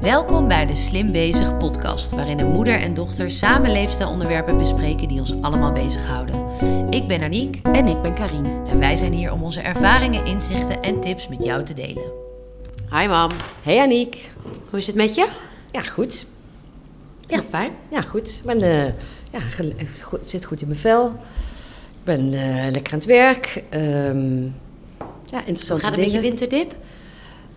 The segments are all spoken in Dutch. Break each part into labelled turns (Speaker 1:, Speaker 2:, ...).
Speaker 1: Welkom bij de Slim Bezig podcast, waarin een moeder en dochter samen leefstijlonderwerpen bespreken die ons allemaal bezighouden. Ik ben Aniek
Speaker 2: En ik ben Karine.
Speaker 1: en wij zijn hier om onze ervaringen, inzichten en tips met jou te delen.
Speaker 2: Hi mam. Hey Aniek.
Speaker 1: Hoe is het met je?
Speaker 2: Ja, goed.
Speaker 1: Ja, fijn.
Speaker 2: Ja, goed. Ik ben, eh, ja, gel- eh, goed, zit goed in mijn vel. Ik ben eh, lekker aan het werk. Ehm, ja,
Speaker 1: Hoe
Speaker 2: interessante
Speaker 1: gaat het met
Speaker 2: dingen.
Speaker 1: je winterdip?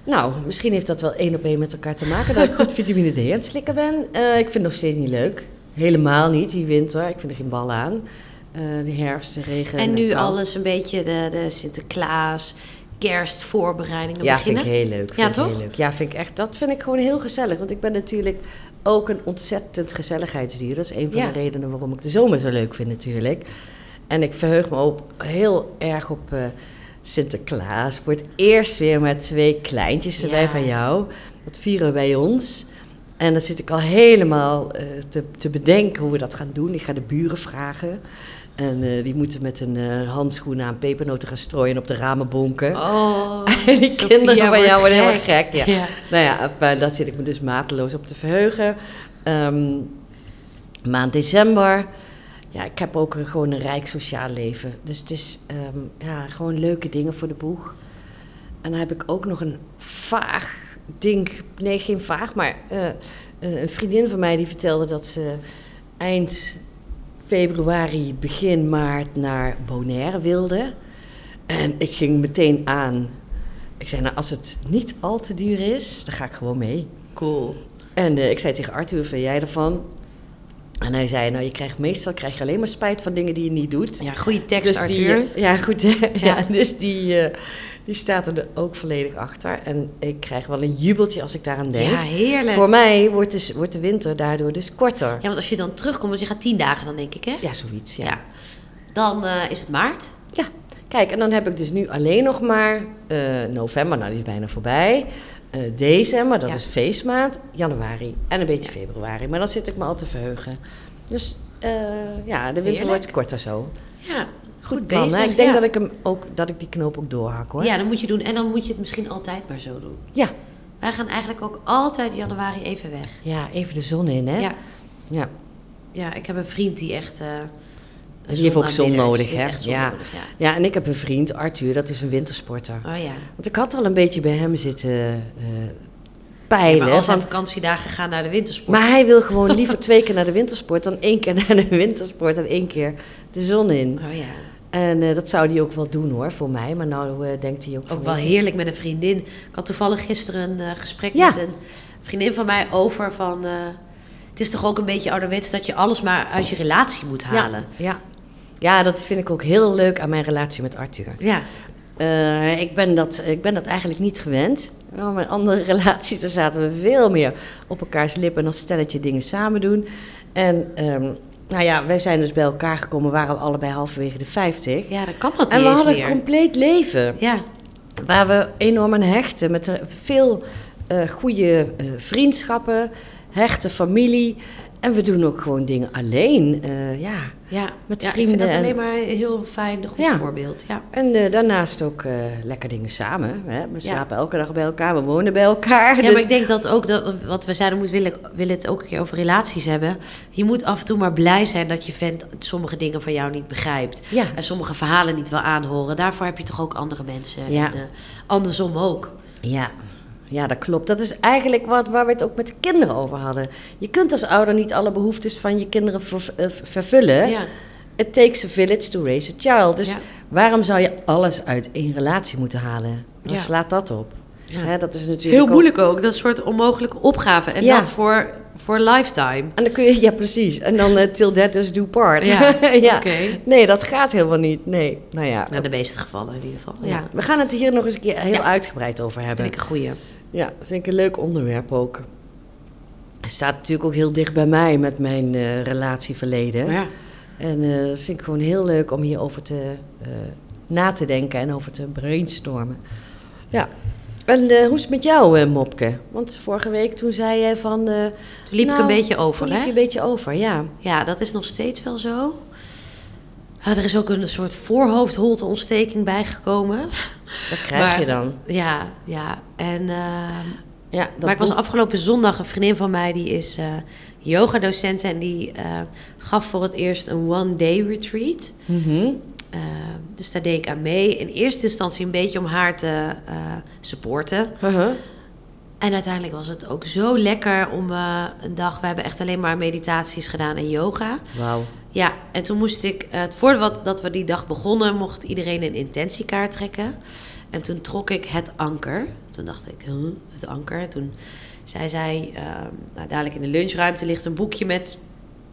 Speaker 2: Nou, misschien heeft dat wel één op één met elkaar te maken. Dat ik goed vitamine D aan het slikken ben. Eh, ik vind het nog steeds niet leuk. Helemaal niet, die winter. Ik vind er geen bal aan. Eh, de herfst, de regen.
Speaker 1: En nu
Speaker 2: de kou.
Speaker 1: alles een beetje de, de Sinterklaas, kerstvoorbereidingen
Speaker 2: Ja,
Speaker 1: beginnen.
Speaker 2: vind ik heel leuk. Vind
Speaker 1: Ja,
Speaker 2: ik
Speaker 1: toch?
Speaker 2: Heel leuk. Ja, vind ik echt. Dat vind ik gewoon heel gezellig. Want ik ben natuurlijk ook een ontzettend gezelligheidsdier. Dat is een van
Speaker 1: Ja.
Speaker 2: de redenen waarom ik de zomer zo leuk vind natuurlijk. En ik verheug me op, heel erg op eh, Sinterklaas. Voor het eerst weer met twee kleintjes erbij
Speaker 1: Ja.
Speaker 2: van jou. Dat vieren we bij ons. En dan zit ik al helemaal eh, te, te bedenken hoe we dat gaan doen. Ik ga de buren vragen. En eh, die moeten met een eh, handschoen aan pepernoten gaan strooien en op de ramen bonken.
Speaker 1: Oh,
Speaker 2: En die
Speaker 1: Sophia
Speaker 2: kinderen van
Speaker 1: wordt
Speaker 2: jou worden helemaal gek. Ja.
Speaker 1: Ja.
Speaker 2: Nou ja, enfin, daar zit ik me dus mateloos op te verheugen. Ehm, maand december. Ja, ik heb ook een, gewoon een rijk sociaal leven. Dus het is ehm, ja, gewoon leuke dingen voor de boeg. En dan heb ik ook nog een vaag ding. Nee, geen vaag, maar eh, eh, een vriendin van mij die vertelde dat ze eind februari, begin maart naar Bonaire wilde. En ik ging meteen aan. Ik zei, nou, als het niet al te duur is, dan ga ik gewoon mee.
Speaker 1: Cool.
Speaker 2: En eh, ik zei tegen Arthur, vind jij ervan? En hij zei, nou, je krijgt meestal krijg je alleen maar spijt van dingen die je niet doet.
Speaker 1: Ja, goede tekst,
Speaker 2: Dus die,
Speaker 1: Arthur.
Speaker 2: ja, goed. hè? Ja.
Speaker 1: Ja.
Speaker 2: dus die, eh, die staat er ook volledig achter. En ik krijg wel een jubeltje als ik daaraan denk.
Speaker 1: ja, heerlijk.
Speaker 2: Voor mij wordt, dus, wordt de winter daardoor dus korter.
Speaker 1: Ja, want als je dan terugkomt, want je gaat tien dagen dan, denk ik, hè?
Speaker 2: Ja, zoiets, ja.
Speaker 1: Ja. Dan eh, is het maart.
Speaker 2: Ja, kijk, en dan heb ik dus nu alleen nog maar eh, november, nou die is bijna voorbij. Eh, december, dat
Speaker 1: Ja.
Speaker 2: is feestmaand. Januari en een beetje februari. Maar dan zit ik me al te verheugen. Dus eh, ja, de winter
Speaker 1: Heerlijk.
Speaker 2: wordt korter zo.
Speaker 1: Ja, goed,
Speaker 2: Dan,
Speaker 1: bezig.
Speaker 2: hè? Ik denk
Speaker 1: ja.
Speaker 2: dat, ik hem ook, dat ik die knoop ook doorhak hoor.
Speaker 1: Ja, dat moet je doen. En dan moet je het misschien altijd maar zo doen.
Speaker 2: ja.
Speaker 1: Wij gaan eigenlijk ook altijd januari even weg.
Speaker 2: Ja, even de zon in hè.
Speaker 1: Ja,
Speaker 2: Ja.
Speaker 1: ja, ik heb een vriend die echt... eh, een
Speaker 2: Die heeft ook zon
Speaker 1: zonaanbidder is.
Speaker 2: nodig,
Speaker 1: Die heeft
Speaker 2: hè?
Speaker 1: echt zon
Speaker 2: Ja.
Speaker 1: nodig, ja.
Speaker 2: Ja, en ik heb een vriend, Arthur, dat is een wintersporter.
Speaker 1: Oh ja.
Speaker 2: Want ik had al een beetje bij hem zitten eh,
Speaker 1: Ja,
Speaker 2: peilen.
Speaker 1: maar al zijn
Speaker 2: van,
Speaker 1: vakantiedagen gaan naar de wintersport.
Speaker 2: Maar hij wil gewoon liever twee keer naar de wintersport dan één keer naar de wintersport en één keer de zon in.
Speaker 1: Oh ja.
Speaker 2: En eh, dat zou hij ook wel doen hoor, voor mij. Maar nou eh, denkt hij ook van,
Speaker 1: Ook wel
Speaker 2: eh,
Speaker 1: heerlijk met een vriendin. Ik had toevallig gisteren een eh, gesprek
Speaker 2: Ja.
Speaker 1: met een vriendin van mij over van... eh, het is toch ook een beetje ouderwets dat je alles maar uit je relatie moet halen.
Speaker 2: Ja, ja. ja, dat vind ik ook heel leuk aan mijn relatie met Arthur.
Speaker 1: Ja,
Speaker 2: Eh, ik, ben dat, ik ben dat eigenlijk niet gewend. Wel, Mijn andere relaties, daar zaten we veel meer op elkaars lippen en als stelletje dingen samen doen. En ehm, nou ja, wij zijn dus bij elkaar gekomen, waren we allebei halverwege de 50.
Speaker 1: ja dat kan dat
Speaker 2: En
Speaker 1: niet
Speaker 2: we
Speaker 1: eens
Speaker 2: hadden
Speaker 1: meer.
Speaker 2: een compleet leven.
Speaker 1: Ja,
Speaker 2: Waar we enorm aan hechten. Met er veel eh, goede eh, vriendschappen, hechte familie. En we doen ook gewoon dingen alleen. eh, ja.
Speaker 1: ja.
Speaker 2: Met
Speaker 1: ja,
Speaker 2: vrienden
Speaker 1: Ik vind dat
Speaker 2: en-
Speaker 1: alleen maar een heel fijn, goed
Speaker 2: Ja.
Speaker 1: voorbeeld. Ja.
Speaker 2: En eh, daarnaast ook eh, lekker dingen samen. Hè? We
Speaker 1: Ja.
Speaker 2: slapen elke dag bij elkaar, we wonen bij elkaar.
Speaker 1: Ja,
Speaker 2: dus-
Speaker 1: maar ik denk dat ook, dat, wat we zeiden, moet willen, willen het ook een keer over relaties hebben. Je moet af en toe maar blij zijn dat je vent sommige dingen van jou niet begrijpt.
Speaker 2: ja.
Speaker 1: En sommige verhalen niet wil aanhoren. Daarvoor heb je toch ook andere mensen.
Speaker 2: Ja.
Speaker 1: En, eh, andersom ook.
Speaker 2: Ja. ja, dat klopt. Dat is eigenlijk wat, waar we het ook met de kinderen over hadden. Je kunt als ouder niet alle behoeftes van je kinderen ver- eh, vervullen.
Speaker 1: Ja.
Speaker 2: It takes a village to raise a child. Dus
Speaker 1: Ja.
Speaker 2: waarom zou je alles uit één relatie moeten halen? Dan
Speaker 1: Ja.
Speaker 2: slaat dat op. Hè, dat is natuurlijk
Speaker 1: Heel
Speaker 2: ook-
Speaker 1: moeilijk ook. Dat is een soort onmogelijke opgave. En
Speaker 2: Ja.
Speaker 1: dat voor, voor lifetime.
Speaker 2: En dan kun je, ja precies. En dan eh, till that does do part.
Speaker 1: Ja,
Speaker 2: Ja.
Speaker 1: oké.
Speaker 2: Nee, dat gaat helemaal niet. Nee, nou ja.
Speaker 1: Nou, de meeste gevallen in ieder geval. Ja,
Speaker 2: Ja. We gaan het hier nog eens een keer heel
Speaker 1: Ja.
Speaker 2: uitgebreid over
Speaker 1: dat
Speaker 2: hebben.
Speaker 1: vind ik een goeie.
Speaker 2: Ja, vind ik een leuk onderwerp ook. Het staat natuurlijk ook heel dicht bij mij met mijn eh, relatieverleden.
Speaker 1: Maar ja.
Speaker 2: En eh, dat vind ik gewoon heel leuk om hierover te, eh, na te denken en over te brainstormen. Ja. En eh, hoe is het met jou, eh, Mopke? Want vorige week toen zei jij van... eh,
Speaker 1: Toen liep ik
Speaker 2: nou,
Speaker 1: een beetje over,
Speaker 2: toen liep
Speaker 1: hè?
Speaker 2: je een beetje over, ja.
Speaker 1: Ja, dat is nog steeds wel zo. Ah, er is ook een soort voorhoofdholteontsteking bijgekomen.
Speaker 2: Dat krijg
Speaker 1: Maar-
Speaker 2: je dan.
Speaker 1: Ja, ja. En ehm,
Speaker 2: Ja, dat
Speaker 1: maar ik was
Speaker 2: boek-
Speaker 1: afgelopen zondag een vriendin van mij die is eh yoga docent en die eh, gaf voor het eerst een one day retreat.
Speaker 2: Mhm.
Speaker 1: Eh, dus daar deed ik aan mee. In eerste instantie een beetje om haar te eh, supporten.
Speaker 2: Haha.
Speaker 1: En uiteindelijk was het ook zo lekker om eh, een dag. We hebben echt alleen maar meditaties gedaan en yoga.
Speaker 2: Wauw.
Speaker 1: Ja, en toen moest ik, eh, het voordat dat we die dag begonnen, mocht iedereen een intentiekaart trekken. En toen trok ik het anker. Toen dacht ik, huh, het anker. Toen zei zij, ehm, nou, dadelijk in de lunchruimte ligt een boekje met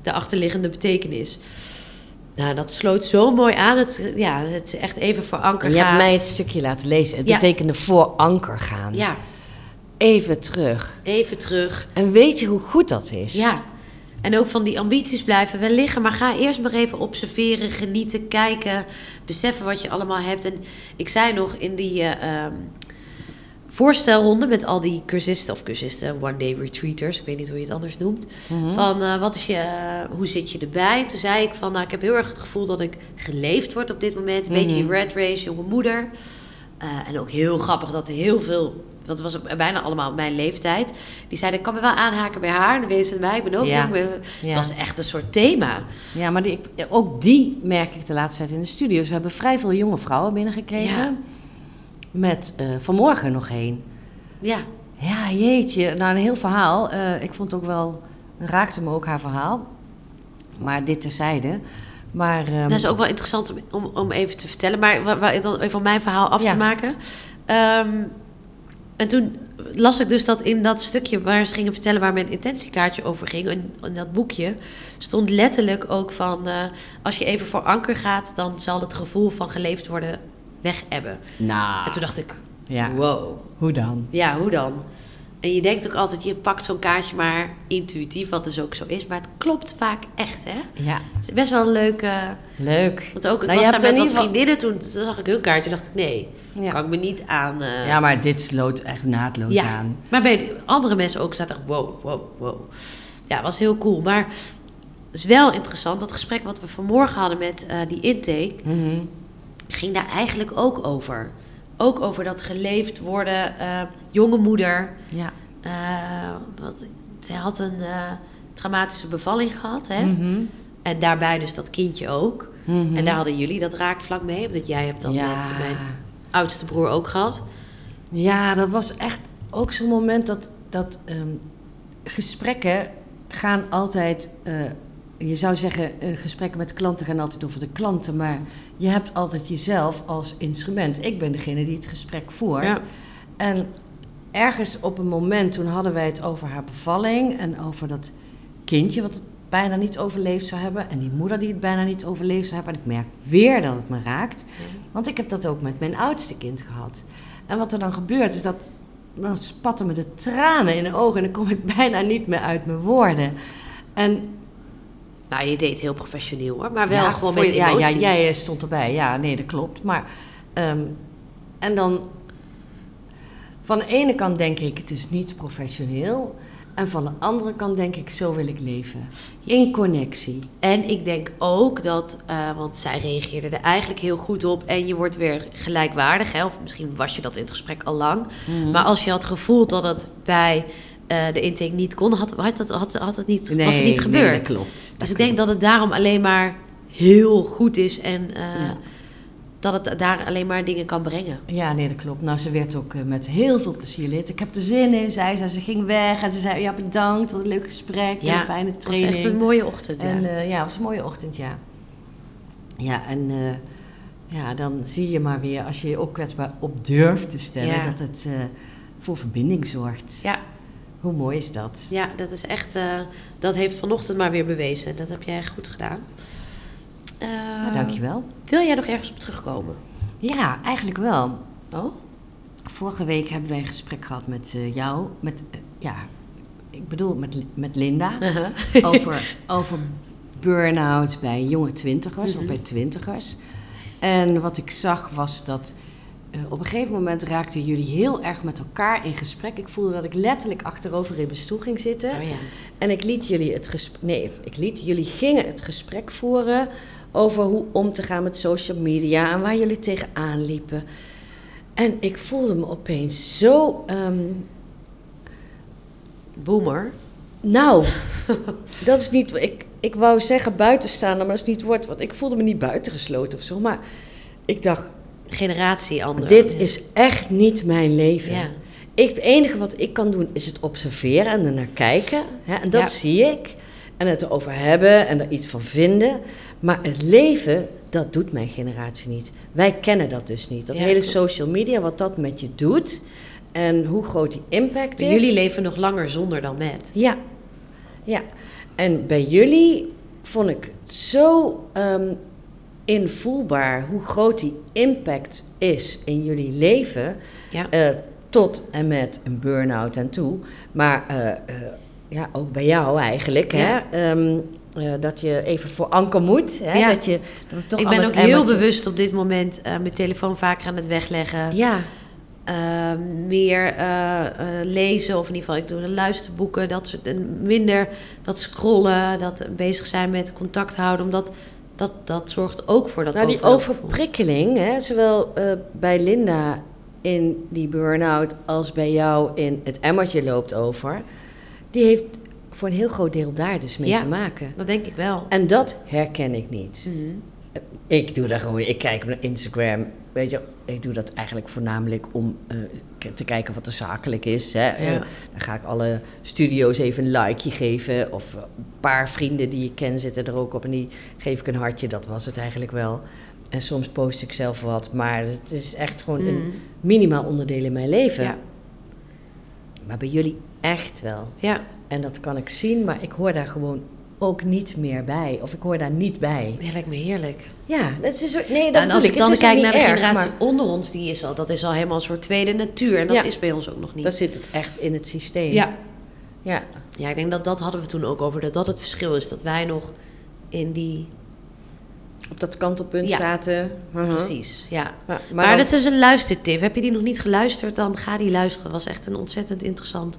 Speaker 1: de achterliggende betekenis. Nou, dat sloot zo mooi aan. Het, ja, het is echt even voor anker
Speaker 2: En je hebt
Speaker 1: gaan.
Speaker 2: mij het stukje laten lezen. Het
Speaker 1: Ja.
Speaker 2: betekende voor anker gaan.
Speaker 1: Ja,
Speaker 2: Even terug.
Speaker 1: even terug.
Speaker 2: En weet je hoe goed dat is?
Speaker 1: Ja. En ook van die ambities blijven wel liggen. Maar ga eerst maar even observeren, genieten, kijken, beseffen wat je allemaal hebt. En ik zei nog in die eh, ehm, voorstelronde met al die cursisten of cursisten, one-day retreaters, ik weet niet hoe je het anders noemt.
Speaker 2: Mhm.
Speaker 1: Van eh, wat is je, hoe zit je erbij? Toen zei ik van, nou ik heb heel erg het gevoel dat ik geleefd word op dit moment. Een beetje die
Speaker 2: Mhm.
Speaker 1: red race, jonge moeder. Eh, en ook heel grappig dat er heel veel, dat was bijna allemaal mijn leeftijd. Die zeiden, ik kan me wel aanhaken bij haar. En dan weten ze bij, ik ben ook
Speaker 2: Ja.
Speaker 1: jong. Het
Speaker 2: Ja.
Speaker 1: was echt een soort thema.
Speaker 2: Ja, maar die, ook die merk ik de laatste tijd in de studio's. We hebben vrij veel jonge vrouwen binnengekregen.
Speaker 1: Ja.
Speaker 2: Met eh, vanmorgen nog één.
Speaker 1: Ja,
Speaker 2: Ja, jeetje. Nou, een heel verhaal. Eh, ik vond het ook wel... Raakte me ook haar verhaal. Maar dit terzijde. Maar... ehm,
Speaker 1: dat is ook wel interessant om- om, om even te vertellen. Maar wa- wa- dan even om mijn verhaal af
Speaker 2: Ja.
Speaker 1: te maken. Ehm, en toen las ik dus dat in dat stukje waar ze gingen vertellen waar mijn intentiekaartje over ging, in, in dat boekje, stond letterlijk ook van eh, als je even voor anker gaat, dan zal het gevoel van geleefd worden weg hebben.
Speaker 2: Nou,
Speaker 1: En toen dacht ik,
Speaker 2: ja.
Speaker 1: wow,
Speaker 2: hoe dan?
Speaker 1: ja, hoe dan? En je denkt ook altijd, je pakt zo'n kaartje maar intuïtief, wat dus ook zo is. Maar het klopt vaak echt, hè?
Speaker 2: Ja,
Speaker 1: Het is best wel een leuke...
Speaker 2: leuk.
Speaker 1: Want ook, ik
Speaker 2: Nou, je
Speaker 1: was
Speaker 2: hebt
Speaker 1: daar met wat
Speaker 2: in ieder geval-
Speaker 1: vriendinnen, toen zag ik hun kaartje, dacht ik, nee,
Speaker 2: Ja.
Speaker 1: kan ik me niet aan... eh,
Speaker 2: Ja, maar dit sloot echt naadloos
Speaker 1: ja.
Speaker 2: aan.
Speaker 1: Maar bij de andere mensen ook staat er, wow, wow, wow. Ja, was heel cool. Maar het is wel interessant, dat gesprek wat we vanmorgen hadden met eh, die intake,
Speaker 2: Mhm.
Speaker 1: ging daar eigenlijk ook over. Ook over dat geleefd worden, eh, jonge moeder.
Speaker 2: Ja.
Speaker 1: eh, wat, zij had een eh, traumatische bevalling gehad, hè?
Speaker 2: Mhm.
Speaker 1: En daarbij dus dat kindje ook.
Speaker 2: Mhm.
Speaker 1: En daar hadden jullie dat raakvlak mee, omdat jij hebt dat
Speaker 2: ja.
Speaker 1: met mijn oudste broer ook gehad.
Speaker 2: Ja, dat was echt ook zo'n moment dat, dat ehm, gesprekken gaan altijd. eh, je zou zeggen, eh, gesprekken met klanten gaan altijd over de klanten, maar je hebt altijd jezelf als instrument. Ik ben degene die het gesprek voert.
Speaker 1: Ja.
Speaker 2: En ergens op een moment, toen hadden wij het over haar bevalling en over dat kindje wat het bijna niet overleefd zou hebben en die moeder die het bijna niet overleefd zou hebben. En ik merk weer dat het me raakt. Want ik heb dat ook met mijn oudste kind gehad. En wat er dan gebeurt is dat. Dan spatten me de tranen in de ogen en dan kom ik bijna niet meer uit mijn woorden. En
Speaker 1: Nou, je deed heel professioneel hoor, maar wel
Speaker 2: ja,
Speaker 1: gewoon
Speaker 2: voor
Speaker 1: met
Speaker 2: je- ja,
Speaker 1: emotie.
Speaker 2: ja, jij eh, stond erbij. Ja, nee, dat klopt. Maar, ehm, en dan. Van de ene kant denk ik, het is niet professioneel. En van de andere kant denk ik, zo wil ik leven. In connectie.
Speaker 1: En ik denk ook dat, eh, want zij reageerde er eigenlijk heel goed op en je wordt weer gelijkwaardig, hè, of misschien was je dat in het gesprek al lang.
Speaker 2: Mhm.
Speaker 1: Maar als je had gevoeld dat het bij eh, de intake niet kon, had, had, dat, had, had het niet, was het niet gebeurd.
Speaker 2: dat klopt.
Speaker 1: Dus ik denk dat het daarom alleen maar heel goed is en eh,
Speaker 2: Ja.
Speaker 1: dat het daar alleen maar dingen kan brengen.
Speaker 2: Ja, nee, dat klopt. Nou, ze werd ook eh, met heel veel plezier lid. Ik heb er zin in, zei ze. Ze ging weg en ze zei, ja, bedankt, wat een leuk gesprek, en
Speaker 1: Ja,
Speaker 2: een fijne
Speaker 1: Het was
Speaker 2: training.
Speaker 1: echt een mooie ochtend. ja.
Speaker 2: En eh, ja, het was een mooie ochtend, ja. Ja, en eh, ja, dan zie je maar weer, als je je ook kwetsbaar op durft te stellen,
Speaker 1: Ja.
Speaker 2: dat het eh, voor verbinding zorgt.
Speaker 1: ja,
Speaker 2: Hoe mooi is dat?
Speaker 1: ja, dat is echt. eh, dat heeft vanochtend maar weer bewezen. Dat heb jij echt goed gedaan. Eh,
Speaker 2: Nou, dankjewel.
Speaker 1: Wil jij nog ergens op terugkomen?
Speaker 2: Ja, eigenlijk wel.
Speaker 1: Oh?
Speaker 2: Vorige week hebben wij een gesprek gehad met eh, jou, met, eh, ja, ik bedoel, met, met Linda. over, over burn-out bij jonge twintigers
Speaker 1: Mhm.
Speaker 2: of bij twintigers. En wat ik zag was dat eh, op een gegeven moment raakten jullie heel erg met elkaar in gesprek. Ik voelde dat ik letterlijk achterover ribbes toe ging zitten.
Speaker 1: Oh ja.
Speaker 2: En ik liet jullie het gesprek. Nee, ik liet jullie gingen het gesprek voeren over hoe om te gaan met social media en waar jullie tegenaan liepen. En ik voelde me opeens zo ehm,
Speaker 1: Boomer.
Speaker 2: Nou, dat is niet. Ik, ik wou zeggen buitenstaander, maar dat is niet het woord. Want ik voelde me niet buitengesloten of zo. Maar ik dacht,
Speaker 1: Generatie anders.
Speaker 2: dit is echt niet mijn leven.
Speaker 1: Nou, Ja.
Speaker 2: Ik, het enige wat ik kan doen is het observeren en ernaar kijken. Hè, en dat
Speaker 1: Ja.
Speaker 2: zie ik. En het erover hebben en er iets van vinden. Maar het leven, dat doet mijn generatie niet. Wij kennen dat dus niet. Dat
Speaker 1: Ja,
Speaker 2: hele
Speaker 1: klopt.
Speaker 2: social media, wat dat met je doet. En hoe groot die impact
Speaker 1: Maar
Speaker 2: is.
Speaker 1: Jullie leven nog langer zonder dan met.
Speaker 2: Ja, ja. En bij jullie vond ik zo ehm, invoelbaar hoe groot die impact is in jullie leven.
Speaker 1: Ja.
Speaker 2: eh, tot en met een burn-out en toe. Maar eh, eh, ja, ook bij jou eigenlijk.
Speaker 1: Ja.
Speaker 2: Hè? Ehm, eh, dat je even voor anker moet. Hè?
Speaker 1: Ja.
Speaker 2: Dat je, dat het toch
Speaker 1: ik
Speaker 2: allemaal
Speaker 1: ben ook
Speaker 2: het
Speaker 1: heel
Speaker 2: emmertje-
Speaker 1: bewust op dit moment eh, mijn telefoon vaker aan het wegleggen.
Speaker 2: Ja,
Speaker 1: Eh, meer eh, eh, lezen, of in ieder geval, ik doe de luisterboeken, dat soort, en minder dat scrollen, dat bezig zijn met contact houden, omdat dat, dat zorgt ook voor dat
Speaker 2: nou die
Speaker 1: overloopgevoel.
Speaker 2: overprikkeling, hè, zowel eh, bij Linda in die burn-out als bij jou in het emmertje loopt over, die heeft voor een heel groot deel daar dus mee
Speaker 1: Ja.
Speaker 2: te maken.
Speaker 1: Dat denk ik wel.
Speaker 2: En dat herken ik niet.
Speaker 1: Mhm.
Speaker 2: Ik doe dat gewoon, ik kijk naar Instagram. Weet je, ik doe dat eigenlijk voornamelijk om eh, k- te kijken wat er zakelijk is. Hè. Eh, dan ga ik alle studio's even een likeje geven. Of eh, een paar vrienden die ik ken zitten er ook op. En die geef ik een hartje, dat was het eigenlijk wel. En soms post ik zelf wat. Maar het is echt gewoon een
Speaker 1: Mhm.
Speaker 2: minimaal onderdeel in mijn leven.
Speaker 1: Ja.
Speaker 2: Maar bij jullie echt wel.
Speaker 1: Ja.
Speaker 2: En dat kan ik zien, maar ik hoor daar gewoon ook niet meer bij. Of ik hoor daar niet bij.
Speaker 1: ja, lijkt me heerlijk.
Speaker 2: Ja, dat is ook, nee, dat
Speaker 1: Nou, en als
Speaker 2: bedoel
Speaker 1: ik dan
Speaker 2: Het is ook
Speaker 1: kijk
Speaker 2: niet
Speaker 1: naar de
Speaker 2: erg,
Speaker 1: generatie
Speaker 2: maar
Speaker 1: onder ons, die is al, dat is al helemaal een soort tweede natuur. En dat
Speaker 2: Ja.
Speaker 1: is bij ons ook nog niet.
Speaker 2: Dan zit het echt in het systeem.
Speaker 1: ja.
Speaker 2: ja.
Speaker 1: ja, ik denk dat dat hadden we toen ook over, dat dat het verschil is. Dat wij nog in die...
Speaker 2: Op dat kantelpunt
Speaker 1: Ja.
Speaker 2: zaten. Mhm.
Speaker 1: Precies, ja.
Speaker 2: Ja, maar
Speaker 1: Maar,
Speaker 2: dan-
Speaker 1: dat is dus een luistertip. Heb je die nog niet geluisterd, dan ga die luisteren. was echt een ontzettend interessant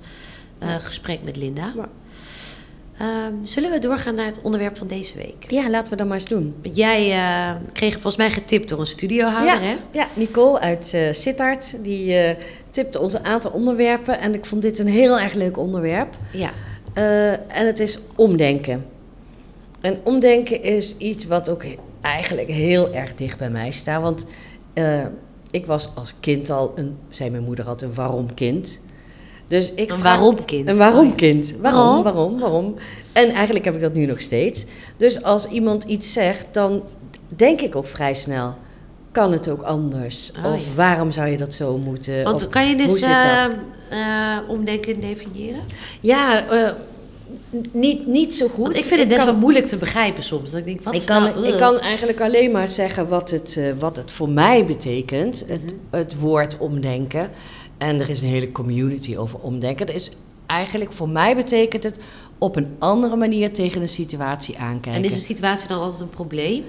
Speaker 1: eh, gesprek met Linda.
Speaker 2: Ja.
Speaker 1: Ehm, zullen we doorgaan naar het onderwerp van deze week?
Speaker 2: Ja, laten we dat maar eens doen.
Speaker 1: Want jij eh, kreeg volgens mij getipt door een studiohouder, hè?
Speaker 2: ja, ja, Nicole uit eh Sittard, die eh, tipte ons een aantal onderwerpen. En ik vond dit een heel erg leuk onderwerp.
Speaker 1: Ja.
Speaker 2: Eh, en het is omdenken. En omdenken is iets wat ook he- eigenlijk heel erg dicht bij mij staat. Want eh, ik was als kind al, een, zei mijn moeder altijd, een waarom kind. Dus ik
Speaker 1: Een Oh
Speaker 2: vraag-
Speaker 1: waarom kind.
Speaker 2: Een waarom kind.
Speaker 1: Waarom?
Speaker 2: Waarom, waarom, waarom. En eigenlijk heb ik dat nu nog steeds. Dus als iemand iets zegt, dan denk ik ook vrij snel... kan het ook anders?
Speaker 1: Ah,
Speaker 2: of
Speaker 1: ja.
Speaker 2: waarom zou je dat zo moeten?
Speaker 1: Want
Speaker 2: Of
Speaker 1: kan je
Speaker 2: Eh, hoe
Speaker 1: dus
Speaker 2: zit dat?
Speaker 1: eh, eh, omdenken definiëren?
Speaker 2: Ja, eh, n- niet, niet zo goed.
Speaker 1: Want ik vind het best
Speaker 2: kan-
Speaker 1: wel moeilijk te begrijpen soms. Dat ik denk, wat
Speaker 2: ik
Speaker 1: is
Speaker 2: kan,
Speaker 1: nou-
Speaker 2: ik kan eigenlijk alleen maar zeggen wat het, eh, wat het voor mij betekent, het,
Speaker 1: Mhm.
Speaker 2: het woord omdenken. En er is een hele community over omdenken. Dat is eigenlijk voor mij betekent het op een andere manier tegen een situatie aankijken.
Speaker 1: En is een situatie dan altijd een probleem?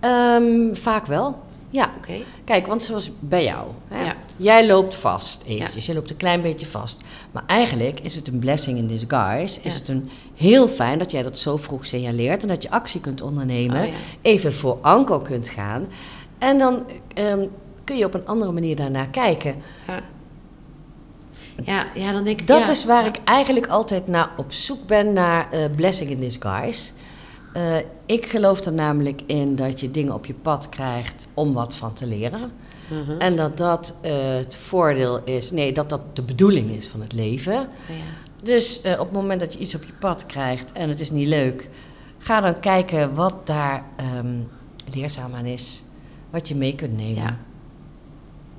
Speaker 2: Ehm, vaak wel. Ja,
Speaker 1: Oké.
Speaker 2: kijk, want zoals bij jou. Hè?
Speaker 1: Ja.
Speaker 2: Jij loopt vast eventjes. Je loopt een klein beetje vast. Maar eigenlijk is het een blessing in disguise. Is
Speaker 1: Ja.
Speaker 2: het een heel fijn dat jij dat zo vroeg signaleert en dat je actie kunt ondernemen.
Speaker 1: Oh, ja.
Speaker 2: Even voor anko kunt gaan. En dan ehm, kun je op een andere manier daarnaar kijken.
Speaker 1: Ja. Ja, ja, dan denk ik
Speaker 2: Dat
Speaker 1: ja.
Speaker 2: is waar ik eigenlijk altijd naar op zoek ben, naar eh, blessing in disguise. Eh, ik geloof er namelijk in dat je dingen op je pad krijgt om wat van te leren.
Speaker 1: Mhm.
Speaker 2: En dat dat eh, het voordeel is, nee, dat dat de bedoeling is van het leven.
Speaker 1: Oh, ja.
Speaker 2: Dus eh, op het moment dat je iets op je pad krijgt en het is niet leuk, ga dan kijken wat daar ehm, leerzaam aan is. Wat je mee kunt nemen.
Speaker 1: Ja.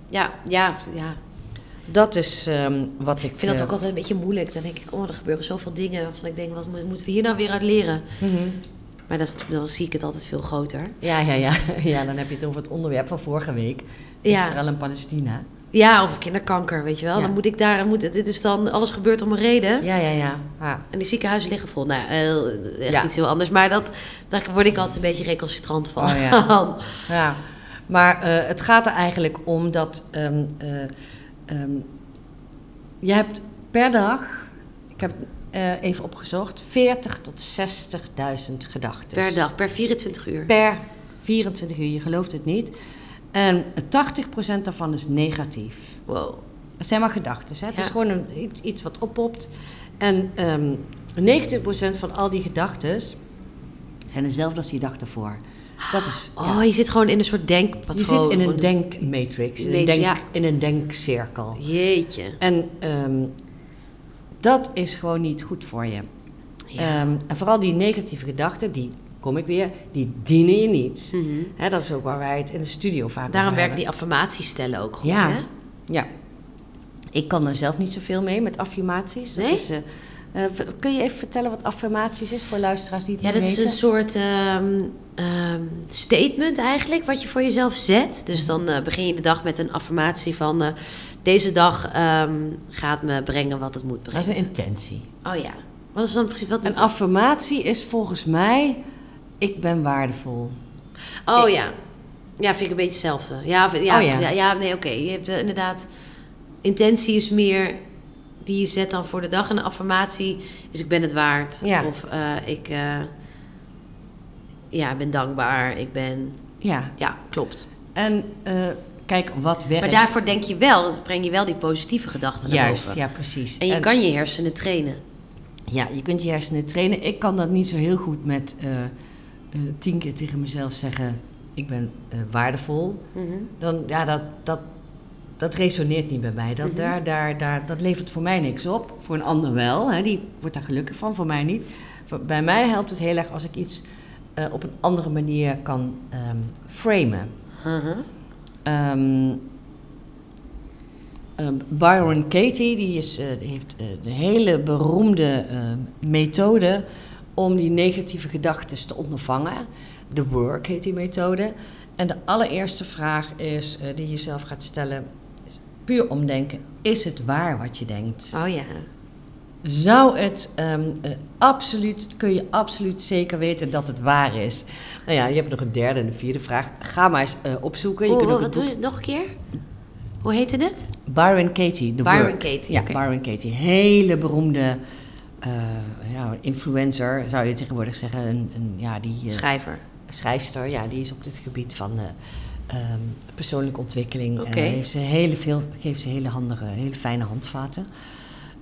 Speaker 1: Ja, ja, ja.
Speaker 2: Dat is ehm, wat ik.
Speaker 1: Ik vind dat ook
Speaker 2: al.
Speaker 1: altijd een beetje moeilijk. Dan denk ik, oh, er gebeuren zoveel dingen waarvan ik denk, wat mo- moeten we hier nou weer uit leren?
Speaker 2: Mhm.
Speaker 1: Maar dat is, dan zie ik het altijd veel groter.
Speaker 2: Ja, ja, ja. ja, dan heb je het over het onderwerp van vorige week.
Speaker 1: Ja.
Speaker 2: Israël en Palestina.
Speaker 1: Ja, of kinderkanker, weet je wel.
Speaker 2: Ja.
Speaker 1: Dan moet ik daar, moet, dit is dan, alles gebeurt om een reden.
Speaker 2: Ja, ja, ja. ja.
Speaker 1: En die ziekenhuizen liggen vol. Nou, eh, echt
Speaker 2: Ja.
Speaker 1: iets heel anders. Maar dat, daar word ik altijd een beetje recalcitrant van.
Speaker 2: Oh, ja. ja. Maar eh, het gaat er eigenlijk om dat ehm, eh, ehm, je hebt per dag, ik heb eh, even opgezocht, 40 tot 60.000 gedachten.
Speaker 1: per dag, per 24 uur.
Speaker 2: Per 24 uur, je gelooft het niet. En 80% daarvan is negatief.
Speaker 1: Wow.
Speaker 2: Het zijn maar gedachten. hè. Het
Speaker 1: Ja.
Speaker 2: is gewoon een, iets, iets wat oppopt. En ehm 90% van al die gedachten zijn dezelfde als die dag ervoor. Dat is, ja.
Speaker 1: Oh, je zit gewoon in een soort
Speaker 2: Je
Speaker 1: denkpatroon.
Speaker 2: zit in een
Speaker 1: Gewoon-
Speaker 2: denkmatrix, in een,
Speaker 1: Weet-
Speaker 2: denk,
Speaker 1: ja.
Speaker 2: in een denkcirkel.
Speaker 1: Jeetje.
Speaker 2: En ehm, dat is gewoon niet goed voor je.
Speaker 1: Ja.
Speaker 2: Ehm, en vooral die negatieve gedachten, die kom ik weer, die dienen je niet.
Speaker 1: Mhm.
Speaker 2: Hè, dat is ook waar wij het in de studio vaak
Speaker 1: Daarom
Speaker 2: over
Speaker 1: werken
Speaker 2: hebben.
Speaker 1: die affirmaties stellen ook goed,
Speaker 2: ja.
Speaker 1: hè?
Speaker 2: Ja. Ik kan daar zelf niet zoveel mee met affirmaties. Dat
Speaker 1: Nee?
Speaker 2: is, eh, eh, v- kun je even vertellen wat affirmaties is voor luisteraars die het
Speaker 1: Ja,
Speaker 2: niet
Speaker 1: dat is
Speaker 2: weten?
Speaker 1: een soort ehm, ehm, statement eigenlijk, wat je voor jezelf zet. Dus dan eh, begin je de dag met een affirmatie van... eh, deze dag ehm, gaat me brengen wat het moet
Speaker 2: Dat is
Speaker 1: brengen.
Speaker 2: een intentie.
Speaker 1: Oh ja. Wat is dan precies... Wat
Speaker 2: Een affirmatie is volgens mij, ik ben waardevol.
Speaker 1: Oh ja. Ja, vind ik een beetje hetzelfde. Ja, vind- ja,
Speaker 2: Oh, ja.
Speaker 1: ja. ja, nee, oké. Je hebt eh, inderdaad... Intentie is meer... Die je zet dan voor de dag. En een affirmatie is ik ben het waard.
Speaker 2: Ja.
Speaker 1: Of eh, ik... eh, ja, ik ben dankbaar. Ik ben...
Speaker 2: Ja.
Speaker 1: Ja, klopt.
Speaker 2: En eh, kijk, wat werkt.
Speaker 1: Maar daarvoor denk je wel... Breng je wel die positieve gedachten naar
Speaker 2: Juist,
Speaker 1: boven.
Speaker 2: ja, precies.
Speaker 1: En je
Speaker 2: En-
Speaker 1: kan je hersenen trainen.
Speaker 2: Ja, je kunt je hersenen trainen. Ik kan dat niet zo heel goed met eh, eh, tien keer tegen mezelf zeggen: ik ben eh, waardevol.
Speaker 1: Mhm.
Speaker 2: Dan, ja, dat, dat, dat resoneert niet bij mij. Dat,
Speaker 1: Mhm.
Speaker 2: daar, daar, daar, dat levert voor mij niks op. Voor een ander wel, hè, die wordt daar gelukkig van, voor mij niet. Voor- bij mij helpt het heel erg als ik iets eh, op een andere manier kan ehm, framen.
Speaker 1: Mhm.
Speaker 2: Ehm, ehm, Byron Katie die is, eh, die heeft eh, een hele beroemde eh, methode om die negatieve gedachten te ondervangen. De work heet die methode. En de allereerste vraag is, eh, die je zelf gaat stellen, is puur omdenken. Is het waar wat je denkt?
Speaker 1: Oh ja.
Speaker 2: Zou het ehm, eh, absoluut, kun je absoluut zeker weten dat het waar is? Nou ja, je hebt nog een derde en een vierde vraag. Ga maar eens eh, opzoeken. Je
Speaker 1: Oh,
Speaker 2: kunt ook
Speaker 1: wat
Speaker 2: het
Speaker 1: doe
Speaker 2: boek
Speaker 1: je het nog een keer? Hoe heette het?
Speaker 2: Byron Katie. de
Speaker 1: Byron
Speaker 2: Work.
Speaker 1: Katie,
Speaker 2: Ja,
Speaker 1: oké.
Speaker 2: Byron Katie. Hele beroemde eh, ja, influencer, zou je tegenwoordig zeggen. Een, een, ja, die, eh,
Speaker 1: Schrijver.
Speaker 2: schrijfster, ja, die is op dit gebied van eh, ehm, persoonlijke ontwikkeling.
Speaker 1: Oké.
Speaker 2: En heeft ze hele veel, geeft ze hele handige, hele fijne handvaten.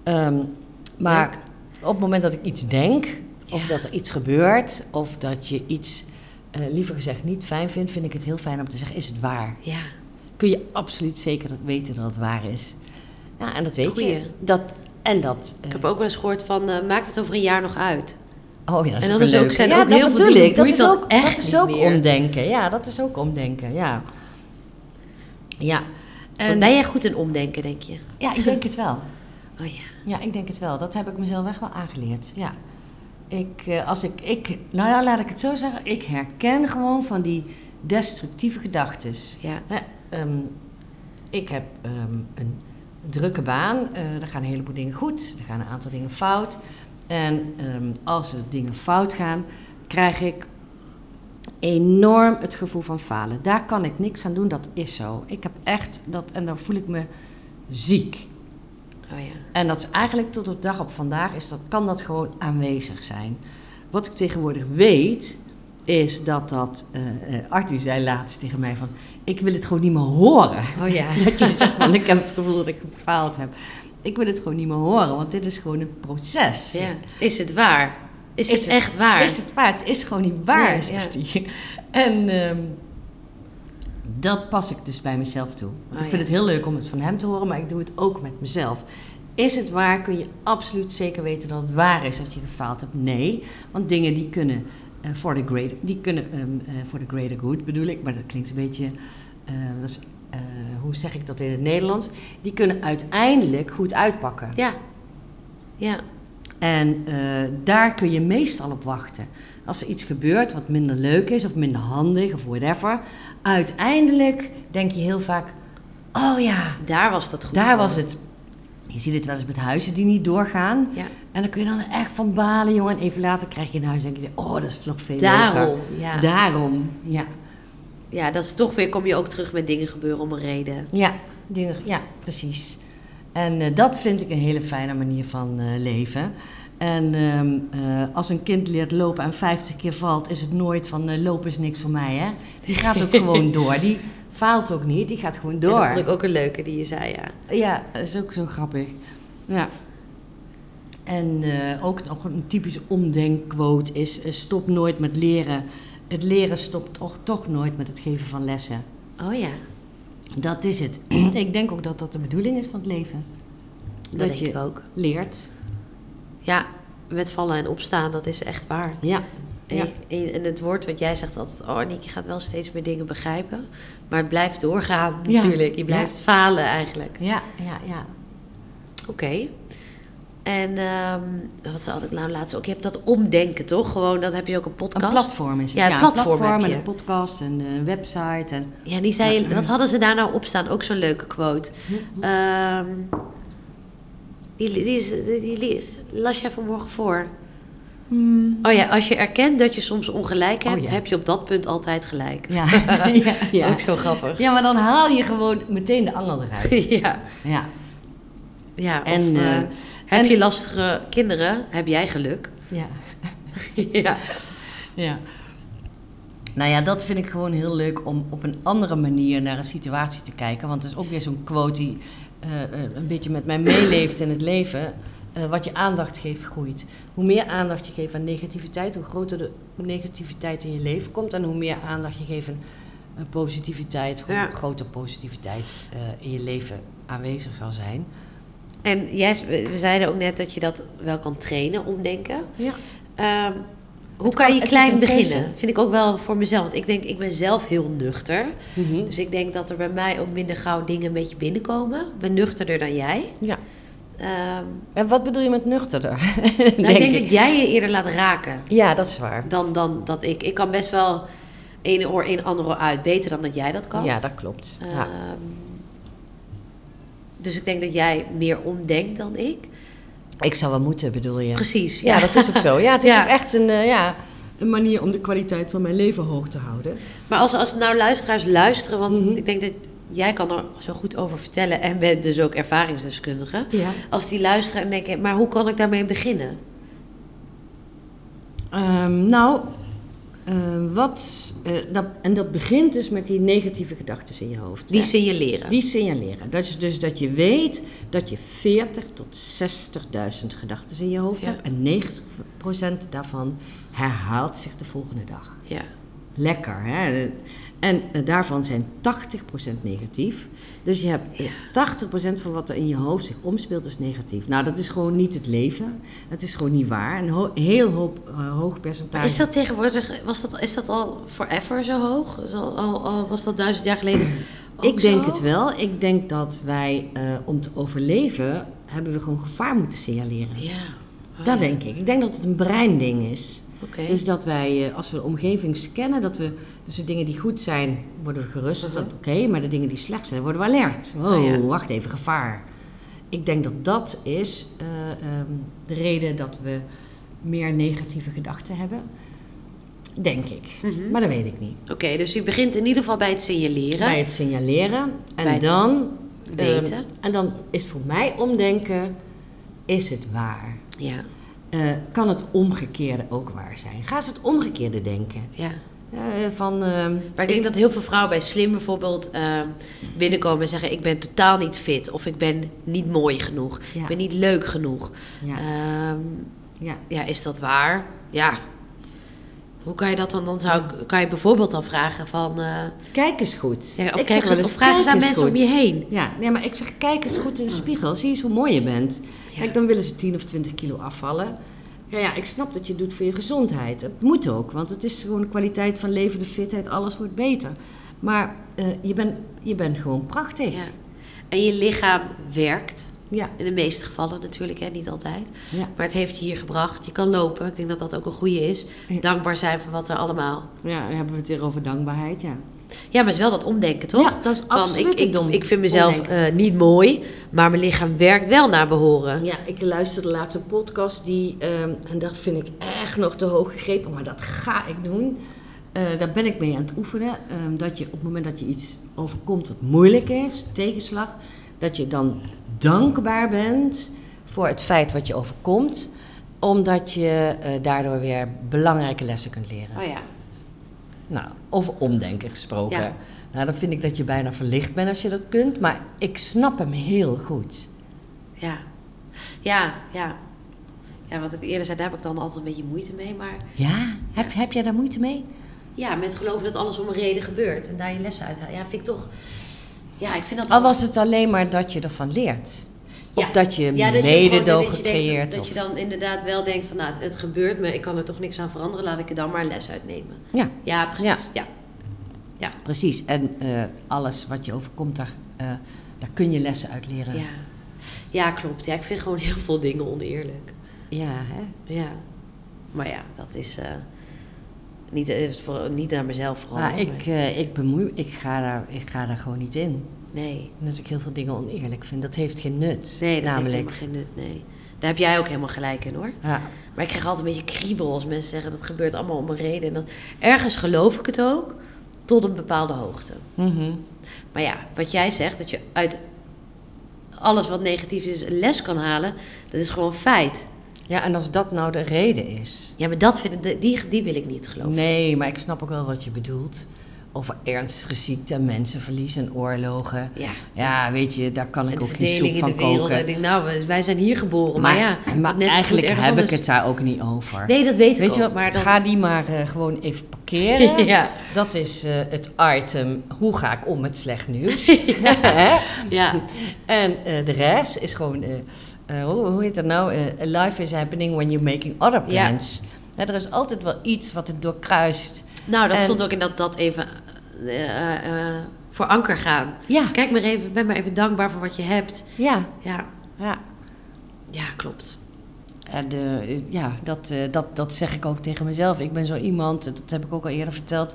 Speaker 2: Ehm, maar op het moment dat ik iets denk, of
Speaker 1: Ja.
Speaker 2: dat er iets gebeurt, of dat je iets eh, liever gezegd niet fijn vindt, vind ik het heel fijn om te zeggen: is het waar?
Speaker 1: Ja.
Speaker 2: kun je absoluut zeker dat- weten dat het waar is. Ja, en dat weet je.
Speaker 1: Goeie.
Speaker 2: Dat, en dat... eh,
Speaker 1: Ik heb ook wel eens gehoord van, eh, maakt het over een jaar nog uit?
Speaker 2: oh ja, dat is
Speaker 1: en
Speaker 2: ook
Speaker 1: dan is
Speaker 2: een
Speaker 1: ook-
Speaker 2: leuke.
Speaker 1: zijn
Speaker 2: ja,
Speaker 1: ook
Speaker 2: dat
Speaker 1: heel veel
Speaker 2: bedoel
Speaker 1: dingen
Speaker 2: ik. Dat
Speaker 1: boeit
Speaker 2: is
Speaker 1: dan
Speaker 2: ook,
Speaker 1: echt
Speaker 2: dat is
Speaker 1: niet
Speaker 2: ook
Speaker 1: meer.
Speaker 2: omdenken. Ja, dat is ook omdenken. Ja. Ja.
Speaker 1: En
Speaker 2: En,
Speaker 1: ben jij goed in omdenken, denk je?
Speaker 2: ja, ik denk het wel.
Speaker 1: Oh ja.
Speaker 2: Ja, ik denk het wel. Dat heb ik mezelf echt wel aangeleerd. Ja. Ik, eh, als ik, ik, nou ja, laat ik het zo zeggen. Ik herken gewoon van die destructieve gedachtes.
Speaker 1: Ja.
Speaker 2: Hè, ehm, ik heb ehm, een drukke baan. Eh er gaan een heleboel dingen goed. Er gaan een aantal dingen fout. En ehm, als er dingen fout gaan, krijg ik enorm het gevoel van falen. Daar kan ik niks aan doen. Dat is zo. Ik heb echt dat en dan voel ik me ziek.
Speaker 1: Oh ja.
Speaker 2: En dat is eigenlijk tot op de dag op vandaag, is dat, kan dat gewoon aanwezig zijn. Wat ik tegenwoordig weet, is dat dat... eh, eh, Arthur zei laatst tegen mij van, ik wil het gewoon niet meer horen.
Speaker 1: Oh ja.
Speaker 2: dat je zegt van, ik heb het gevoel dat ik gefaald heb. Ik wil het gewoon niet meer horen, want dit is gewoon een proces.
Speaker 1: ja. Is het waar? Is,
Speaker 2: Is
Speaker 1: het
Speaker 2: het-
Speaker 1: echt waar?
Speaker 2: Is het waar? Het is gewoon niet waar,
Speaker 1: Ja,
Speaker 2: zegt hij. En ehm, dat pas ik dus bij mezelf toe. Want
Speaker 1: Ah,
Speaker 2: ik vind
Speaker 1: ja.
Speaker 2: het heel leuk om het van hem te horen, maar ik doe het ook met mezelf. Is het waar? Kun je absoluut zeker weten dat het waar is dat je gefaald hebt? Nee, want dingen die kunnen eh, voor de greater, die kunnen ehm, eh, voor de greater good bedoel ik, maar dat klinkt een beetje, eh, dat is, eh, hoe zeg ik dat in het Nederlands? Die kunnen uiteindelijk goed uitpakken.
Speaker 1: Ja. Ja.
Speaker 2: En eh, daar kun je meestal op wachten. Als er iets gebeurt wat minder leuk is of minder handig of whatever. Uiteindelijk denk je heel vaak, oh ja,
Speaker 1: Daar was dat goed
Speaker 2: daar
Speaker 1: voor.
Speaker 2: was het. Je ziet het wel eens met huizen die niet doorgaan.
Speaker 1: Ja.
Speaker 2: En dan kun je dan echt van balen, jongen. En even later krijg je een huis en denk je, oh, dat is nog veel
Speaker 1: Daarom.
Speaker 2: leuker.
Speaker 1: Ja.
Speaker 2: Daarom, ja.
Speaker 1: ja, dat is toch weer, kom je ook terug met dingen gebeuren om een reden.
Speaker 2: Ja, dingen, ja, precies. En eh, dat vind ik een hele fijne manier van eh, leven. En ehm, eh, als een kind leert lopen en 50 keer valt, is het nooit van eh, lopen is niks voor mij, hè? Die gaat ook gewoon door. Die faalt ook niet, die gaat gewoon
Speaker 1: En
Speaker 2: door.
Speaker 1: dat vond ik ook een leuke die je zei, ja.
Speaker 2: Ja, dat is ook zo grappig. Ja. En eh, ook nog een typisch omdenkquote is: eh, stop nooit met leren. Het leren stopt toch, toch nooit met het geven van lessen.
Speaker 1: Oh ja,
Speaker 2: Dat is het. ik denk ook dat dat de bedoeling is van het leven.
Speaker 1: dat,
Speaker 2: Dat
Speaker 1: denk
Speaker 2: je-
Speaker 1: ik ook.
Speaker 2: Leert.
Speaker 1: Ja, met vallen en opstaan, dat is echt waar.
Speaker 2: Ja.
Speaker 1: En,
Speaker 2: Ja.
Speaker 1: je- en het woord wat jij zegt altijd, oh Nick, je gaat wel steeds meer dingen begrijpen. Maar het blijft doorgaan
Speaker 2: Ja.
Speaker 1: natuurlijk. Je blijft falen eigenlijk.
Speaker 2: Ja, ja, ja.
Speaker 1: Oké. En ehm, wat zat ik nou laatst ook? Je hebt dat omdenken toch? Gewoon, dat heb je ook een podcast.
Speaker 2: Een platform is het.
Speaker 1: Ja, een platform
Speaker 2: een platform
Speaker 1: heb
Speaker 2: en
Speaker 1: je.
Speaker 2: een podcast en een website. En,
Speaker 1: Ja, die zei, wat hadden ze daar nou op staan? Ook zo'n leuke quote.
Speaker 2: eh,
Speaker 1: Ehm, die, die, is- die, die- die las jij vanmorgen voor.
Speaker 2: hmm.
Speaker 1: Oh ja, als je erkent dat je soms ongelijk
Speaker 2: Oh
Speaker 1: hebt,
Speaker 2: ja.
Speaker 1: heb je op dat punt altijd gelijk.
Speaker 2: Ja. ja, ja.
Speaker 1: Ook zo grappig.
Speaker 2: ja, maar dan haal je gewoon meteen de angel eruit.
Speaker 1: ja.
Speaker 2: ja.
Speaker 1: ja of,
Speaker 2: En,
Speaker 1: eh,
Speaker 2: eh,
Speaker 1: heb
Speaker 2: en-
Speaker 1: je lastige kinderen, heb jij geluk.
Speaker 2: Ja.
Speaker 1: ja.
Speaker 2: ja. Nou ja, dat vind ik gewoon heel leuk om op een andere manier naar een situatie te kijken. Want het is ook weer zo'n quote die eh, eh, een beetje met mij meeleeft in het leven. Eh, wat je aandacht geeft, groeit. Hoe meer aandacht je geeft aan negativiteit, hoe groter de negativiteit in je leven komt. En hoe meer aandacht je geeft aan eh, positiviteit, hoe
Speaker 1: Ja.
Speaker 2: groter positiviteit eh, in je leven aanwezig zal zijn.
Speaker 1: En jij, we we zeiden ook net dat je dat wel kan trainen, omdenken.
Speaker 2: Ja.
Speaker 1: Ehm, hoe
Speaker 2: Het
Speaker 1: kan,
Speaker 2: kan-
Speaker 1: je
Speaker 2: het is
Speaker 1: klein
Speaker 2: een keuze.
Speaker 1: beginnen? Vind ik ook wel voor mezelf. Want ik denk, ik ben zelf heel nuchter.
Speaker 2: Mhm.
Speaker 1: Dus ik denk dat er bij mij ook minder gauw dingen een beetje binnenkomen. Ik ben nuchterder dan jij.
Speaker 2: ja.
Speaker 1: Ehm,
Speaker 2: En wat bedoel je met nuchterder?
Speaker 1: nou, ik denk dat jij je eerder laat raken
Speaker 2: Ja, dat is waar.
Speaker 1: dan, dan dat ik. Ik kan best wel ene oor in, andere oor uit. Beter dan dat jij dat kan.
Speaker 2: Ja, dat klopt. ja.
Speaker 1: Ehm, dus ik denk dat jij meer omdenkt dan ik.
Speaker 2: Ik zou wel moeten, bedoel je?
Speaker 1: Precies.
Speaker 2: Ja, dat is ook zo. Ja, het is
Speaker 1: Ja.
Speaker 2: ook echt een, eh, ja, een manier om de kwaliteit van mijn leven hoog te houden.
Speaker 1: Maar als, als nou luisteraars luisteren, want
Speaker 2: Mhm.
Speaker 1: ik denk dat jij kan er zo goed over vertellen en bent dus ook ervaringsdeskundige.
Speaker 2: Ja.
Speaker 1: Als die luisteren en denken, maar hoe kan ik daarmee beginnen?
Speaker 2: Ehm, nou, ehm, wat, eh, dat, en dat begint dus met die negatieve gedachten in je hoofd.
Speaker 1: Die
Speaker 2: hè?
Speaker 1: signaleren.
Speaker 2: Die signaleren. Dat is dus dat je weet dat je 40 tot 60.000 gedachten in je hoofd
Speaker 1: Ja.
Speaker 2: hebt. En 90% daarvan herhaalt zich de volgende dag.
Speaker 1: Ja.
Speaker 2: lekker. Hè? En eh, daarvan zijn 80% negatief. Dus je hebt eh, 80% van wat er in je hoofd zich omspeelt is negatief. Nou, dat is gewoon niet het leven. Het is gewoon niet waar. Een ho- heel hoop, eh, hoog percentage.
Speaker 1: Is dat tegenwoordig, was dat, is dat al forever zo hoog? Is al, al, al- was dat duizend jaar geleden? ook
Speaker 2: Ik
Speaker 1: zo
Speaker 2: denk
Speaker 1: hoog?
Speaker 2: het wel. Ik denk dat wij eh, om te overleven hebben we gewoon gevaar moeten signaleren.
Speaker 1: Ja. Oh,
Speaker 2: Dat
Speaker 1: ja.
Speaker 2: denk ik. Ik denk dat het een breinding is.
Speaker 1: Oké.
Speaker 2: Dus dat wij, eh, als we de omgeving scannen, dat we dus de dingen die goed zijn, worden we gerust.
Speaker 1: Mhm.
Speaker 2: dat Oké, maar de dingen die slecht zijn, worden we alert. Oh,
Speaker 1: Ah, ja.
Speaker 2: wacht even, gevaar. Ik denk dat dat is eh, ehm, de reden dat we meer negatieve gedachten hebben. Denk ik.
Speaker 1: Mhm.
Speaker 2: Maar dat weet ik niet.
Speaker 1: Oké, dus je begint in ieder geval bij het signaleren.
Speaker 2: Bij het signaleren en
Speaker 1: Bij het
Speaker 2: dan... ehm,
Speaker 1: weten.
Speaker 2: en dan is voor mij omdenken, is het waar?
Speaker 1: Ja,
Speaker 2: Eh, kan het omgekeerde ook waar zijn? Ga eens het omgekeerde denken.
Speaker 1: ja.
Speaker 2: Eh, van, ehm,
Speaker 1: Maar ik denk dat heel veel vrouwen bij Slim bijvoorbeeld ehm, binnenkomen en zeggen: Ik ben totaal niet fit. Of ik ben niet mooi genoeg.
Speaker 2: Ja.
Speaker 1: Ik ben niet leuk genoeg.
Speaker 2: ja,
Speaker 1: Ehm,
Speaker 2: ja.
Speaker 1: ja, is dat waar? Ja. Hoe kan je dat dan? Dan zou ik, kan je bijvoorbeeld dan vragen van. eh,
Speaker 2: Kijk eens goed.
Speaker 1: ja, of,
Speaker 2: Ik
Speaker 1: kijk
Speaker 2: zeg wel
Speaker 1: eens-
Speaker 2: eens,
Speaker 1: of vraag eens
Speaker 2: kijk
Speaker 1: aan mensen om
Speaker 2: goed.
Speaker 1: je heen.
Speaker 2: Ja, nee, maar ik zeg, kijk eens goed in de spiegel. Zie eens hoe mooi je bent.
Speaker 1: Ja.
Speaker 2: Kijk, dan willen ze 10 of 20 kilo afvallen. Ja, ja, ik snap dat je het doet voor je gezondheid. Het moet ook, want het is gewoon de kwaliteit van leven, de fitheid, alles wordt beter. Maar eh, je, bent, je bent gewoon prachtig.
Speaker 1: Ja. En je lichaam werkt.
Speaker 2: ja.
Speaker 1: In de meeste gevallen natuurlijk, hè, niet altijd.
Speaker 2: ja.
Speaker 1: Maar het heeft je hier gebracht. Je kan lopen. Ik denk dat dat ook een goede is.
Speaker 2: Ja.
Speaker 1: Dankbaar zijn voor wat er allemaal
Speaker 2: Ja, dan hebben we het weer over dankbaarheid, ja.
Speaker 1: Ja, maar het is wel dat omdenken, toch?
Speaker 2: Ja, dat is
Speaker 1: Van,
Speaker 2: absoluut
Speaker 1: ik, ik,
Speaker 2: het om-
Speaker 1: ik vind mezelf
Speaker 2: omdenken.
Speaker 1: eh, niet mooi, maar mijn lichaam werkt wel naar behoren.
Speaker 2: Ja, ik luisterde laatst een podcast die, ehm, en dat vind ik echt nog te hoog gegrepen, maar dat ga ik doen. Eh, daar ben ik mee aan het oefenen. ehm, dat je op het moment dat je iets overkomt wat moeilijk is, tegenslag, dat je dan dankbaar bent voor het feit wat je overkomt, omdat je eh, daardoor weer belangrijke lessen kunt leren.
Speaker 1: Oh ja.
Speaker 2: Nou, over omdenken gesproken.
Speaker 1: Ja.
Speaker 2: Nou, dan vind ik dat je bijna verlicht bent als je dat kunt, maar ik snap hem heel goed.
Speaker 1: Ja. Ja, ja. ja, wat ik eerder zei, daar heb ik dan altijd een beetje moeite mee. Maar
Speaker 2: Ja? Heb, heb jij daar moeite mee?
Speaker 1: ja, met geloven dat alles om een reden gebeurt en daar je lessen uit haalt. Ja, vind ik toch. Ja, ik vind dat.
Speaker 2: Al was het alleen maar dat je ervan leert. Of dat je
Speaker 1: Ja, dat
Speaker 2: mededogen
Speaker 1: gewoon- dat je denkt-
Speaker 2: creëert.
Speaker 1: Dat
Speaker 2: of-
Speaker 1: je dan inderdaad wel denkt van, nou, het- het gebeurt me, ik kan er toch niks aan veranderen, laat ik er dan maar les uitnemen.
Speaker 2: Ja,
Speaker 1: Ja, precies.
Speaker 2: Ja.
Speaker 1: Ja. Ja.
Speaker 2: precies. En eh, alles wat je overkomt, daar, eh, daar kun je lessen uit leren.
Speaker 1: Ja. klopt. Ja, ik vind gewoon heel veel dingen oneerlijk.
Speaker 2: Ja, hè?
Speaker 1: Ja. Maar ja, dat is eh, niet, eh, voor, niet naar mezelf vooral.
Speaker 2: Maar
Speaker 1: hoor,
Speaker 2: ik, eh, ik bemoei, ik ga, daar, ik ga daar gewoon niet in.
Speaker 1: Nee.
Speaker 2: Dat ik heel veel dingen oneerlijk vind, dat heeft geen nut.
Speaker 1: Nee, dat heeft
Speaker 2: namelijk.
Speaker 1: helemaal geen nut, nee. Daar heb jij ook helemaal gelijk in, hoor.
Speaker 2: Ja,
Speaker 1: Maar ik krijg altijd een beetje kriebel als mensen zeggen... dat gebeurt allemaal om een reden. En dan, ergens geloof ik het ook, tot een bepaalde hoogte.
Speaker 2: mhm.
Speaker 1: Maar ja, wat jij zegt, dat je uit alles wat negatief is een les kan halen, dat is gewoon feit.
Speaker 2: ja en als dat nou de reden is.
Speaker 1: Ja, maar dat vind ik, de- die, die wil ik niet geloven.
Speaker 2: Nee, maar ik snap ook wel wat je bedoelt. Over ernstige ziekte, mensenverlies en oorlogen.
Speaker 1: Ja.
Speaker 2: Ja, weet je, daar kan ik
Speaker 1: En de
Speaker 2: ook geen soep
Speaker 1: verdeling in
Speaker 2: van
Speaker 1: de wereld.
Speaker 2: koken.
Speaker 1: En ik denk, nou, wij zijn hier geboren. Maar,
Speaker 2: maar
Speaker 1: ja,
Speaker 2: maar
Speaker 1: net zo goed
Speaker 2: eigenlijk heb
Speaker 1: ergens
Speaker 2: ik
Speaker 1: anders-
Speaker 2: het daar ook niet over.
Speaker 1: Nee, dat weet,
Speaker 2: Weet
Speaker 1: ik
Speaker 2: je
Speaker 1: ook.
Speaker 2: wat,
Speaker 1: maar dan,
Speaker 2: ga die maar eh, gewoon even parkeren.
Speaker 1: Ja.
Speaker 2: Dat is eh, het item, hoe ga ik om met slecht nieuws? Hè?
Speaker 1: Ja,
Speaker 2: en eh, de rest is gewoon, eh, eh, hoe, hoe heet dat nou? Eh, life is happening when you're making other
Speaker 1: Ja.
Speaker 2: plans. Hè, er is altijd wel iets wat het doorkruist.
Speaker 1: nou, dat
Speaker 2: En-
Speaker 1: stond ook in dat, dat even eh, eh, eh, voor anker gaan.
Speaker 2: Ja,
Speaker 1: Kijk maar even, ben maar even dankbaar voor wat je hebt.
Speaker 2: ja,
Speaker 1: Ja,
Speaker 2: ja.
Speaker 1: ja klopt.
Speaker 2: En eh, ja, dat, eh, dat, dat zeg ik ook tegen mezelf. Ik ben zo iemand, dat heb ik ook al eerder verteld,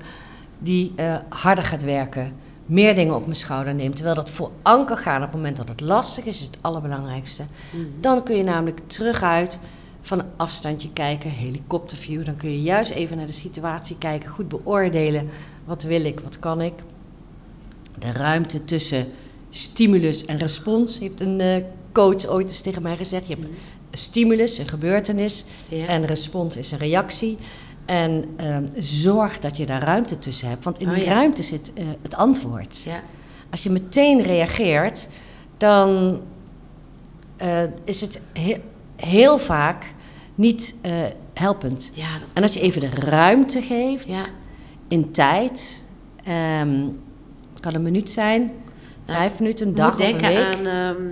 Speaker 2: die eh, harder gaat werken. Meer dingen op mijn schouder neemt. Terwijl dat voor anker gaan op het moment dat het lastig is, is het allerbelangrijkste.
Speaker 1: Mm.
Speaker 2: Dan kun je namelijk teruguit van een afstandje kijken, helikopterview. Dan kun je juist even naar de situatie kijken, goed beoordelen. Wat wil ik, wat kan ik? De ruimte tussen stimulus en respons, heeft een eh, coach ooit eens tegen mij gezegd. Je hebt
Speaker 1: Mm.
Speaker 2: stimulus, een gebeurtenis,
Speaker 1: Ja.
Speaker 2: en respons is een reactie. En ehm, zorg dat je daar ruimte tussen hebt, want in
Speaker 1: Oh,
Speaker 2: die
Speaker 1: ja.
Speaker 2: ruimte zit eh, het antwoord.
Speaker 1: ja.
Speaker 2: Als je meteen reageert, dan eh, is het he- heel vaak niet eh, helpend.
Speaker 1: ja, dat
Speaker 2: En als je even de ruimte geeft
Speaker 1: Ja.
Speaker 2: in tijd, ehm, het kan een minuut zijn, vijf minuten, een
Speaker 1: Ik
Speaker 2: dag
Speaker 1: moet
Speaker 2: of een
Speaker 1: denken
Speaker 2: week.
Speaker 1: aan ehm,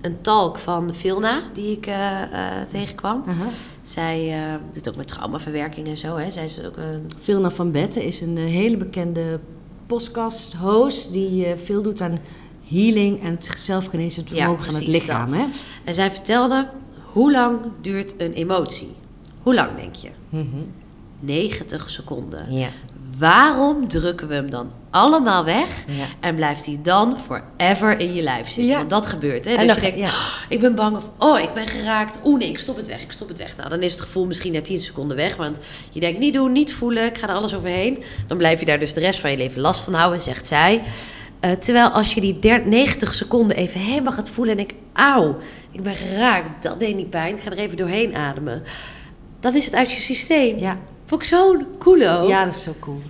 Speaker 1: een talk van Vilna die ik eh, eh, tegenkwam.
Speaker 2: Aha.
Speaker 1: Zij eh, doet ook met traumaverwerking en zo. Hè. Zij is ook een.
Speaker 2: Vilna van Betten is een eh, hele bekende podcast-host die eh, veel doet aan healing en het zelfgenezend
Speaker 1: Ja,
Speaker 2: vermogen van het
Speaker 1: precies
Speaker 2: lichaam.
Speaker 1: dat.
Speaker 2: Hè?
Speaker 1: En zij vertelde: hoe lang duurt een emotie? Hoe lang denk je?
Speaker 2: Mhm.
Speaker 1: 90 seconden.
Speaker 2: Ja.
Speaker 1: Waarom drukken we hem dan allemaal weg?
Speaker 2: Ja.
Speaker 1: En blijft hij dan forever in je lijf zitten?
Speaker 2: Ja.
Speaker 1: Want dat gebeurt, hè?
Speaker 2: En
Speaker 1: Dus
Speaker 2: dan-
Speaker 1: je denkt,
Speaker 2: ja.
Speaker 1: "Oh, ik ben bang of oh, ik ben geraakt. Oeh, nee, ik stop het weg, ik stop het weg. Nou, dan is het gevoel misschien na 10 seconden weg. Want je denkt, niet doen, niet voelen, ik ga er alles overheen. Dan blijf je daar dus de rest van je leven last van houden, zegt zij. Eh, terwijl als je die der- 90 seconden even helemaal gaat voelen en ik, auw, ik ben geraakt, dat deed niet pijn, ik ga er even doorheen ademen. Dan is het uit je systeem.
Speaker 2: Ja.
Speaker 1: Vond ik zo'n cool ook.
Speaker 2: ja, dat is zo cool.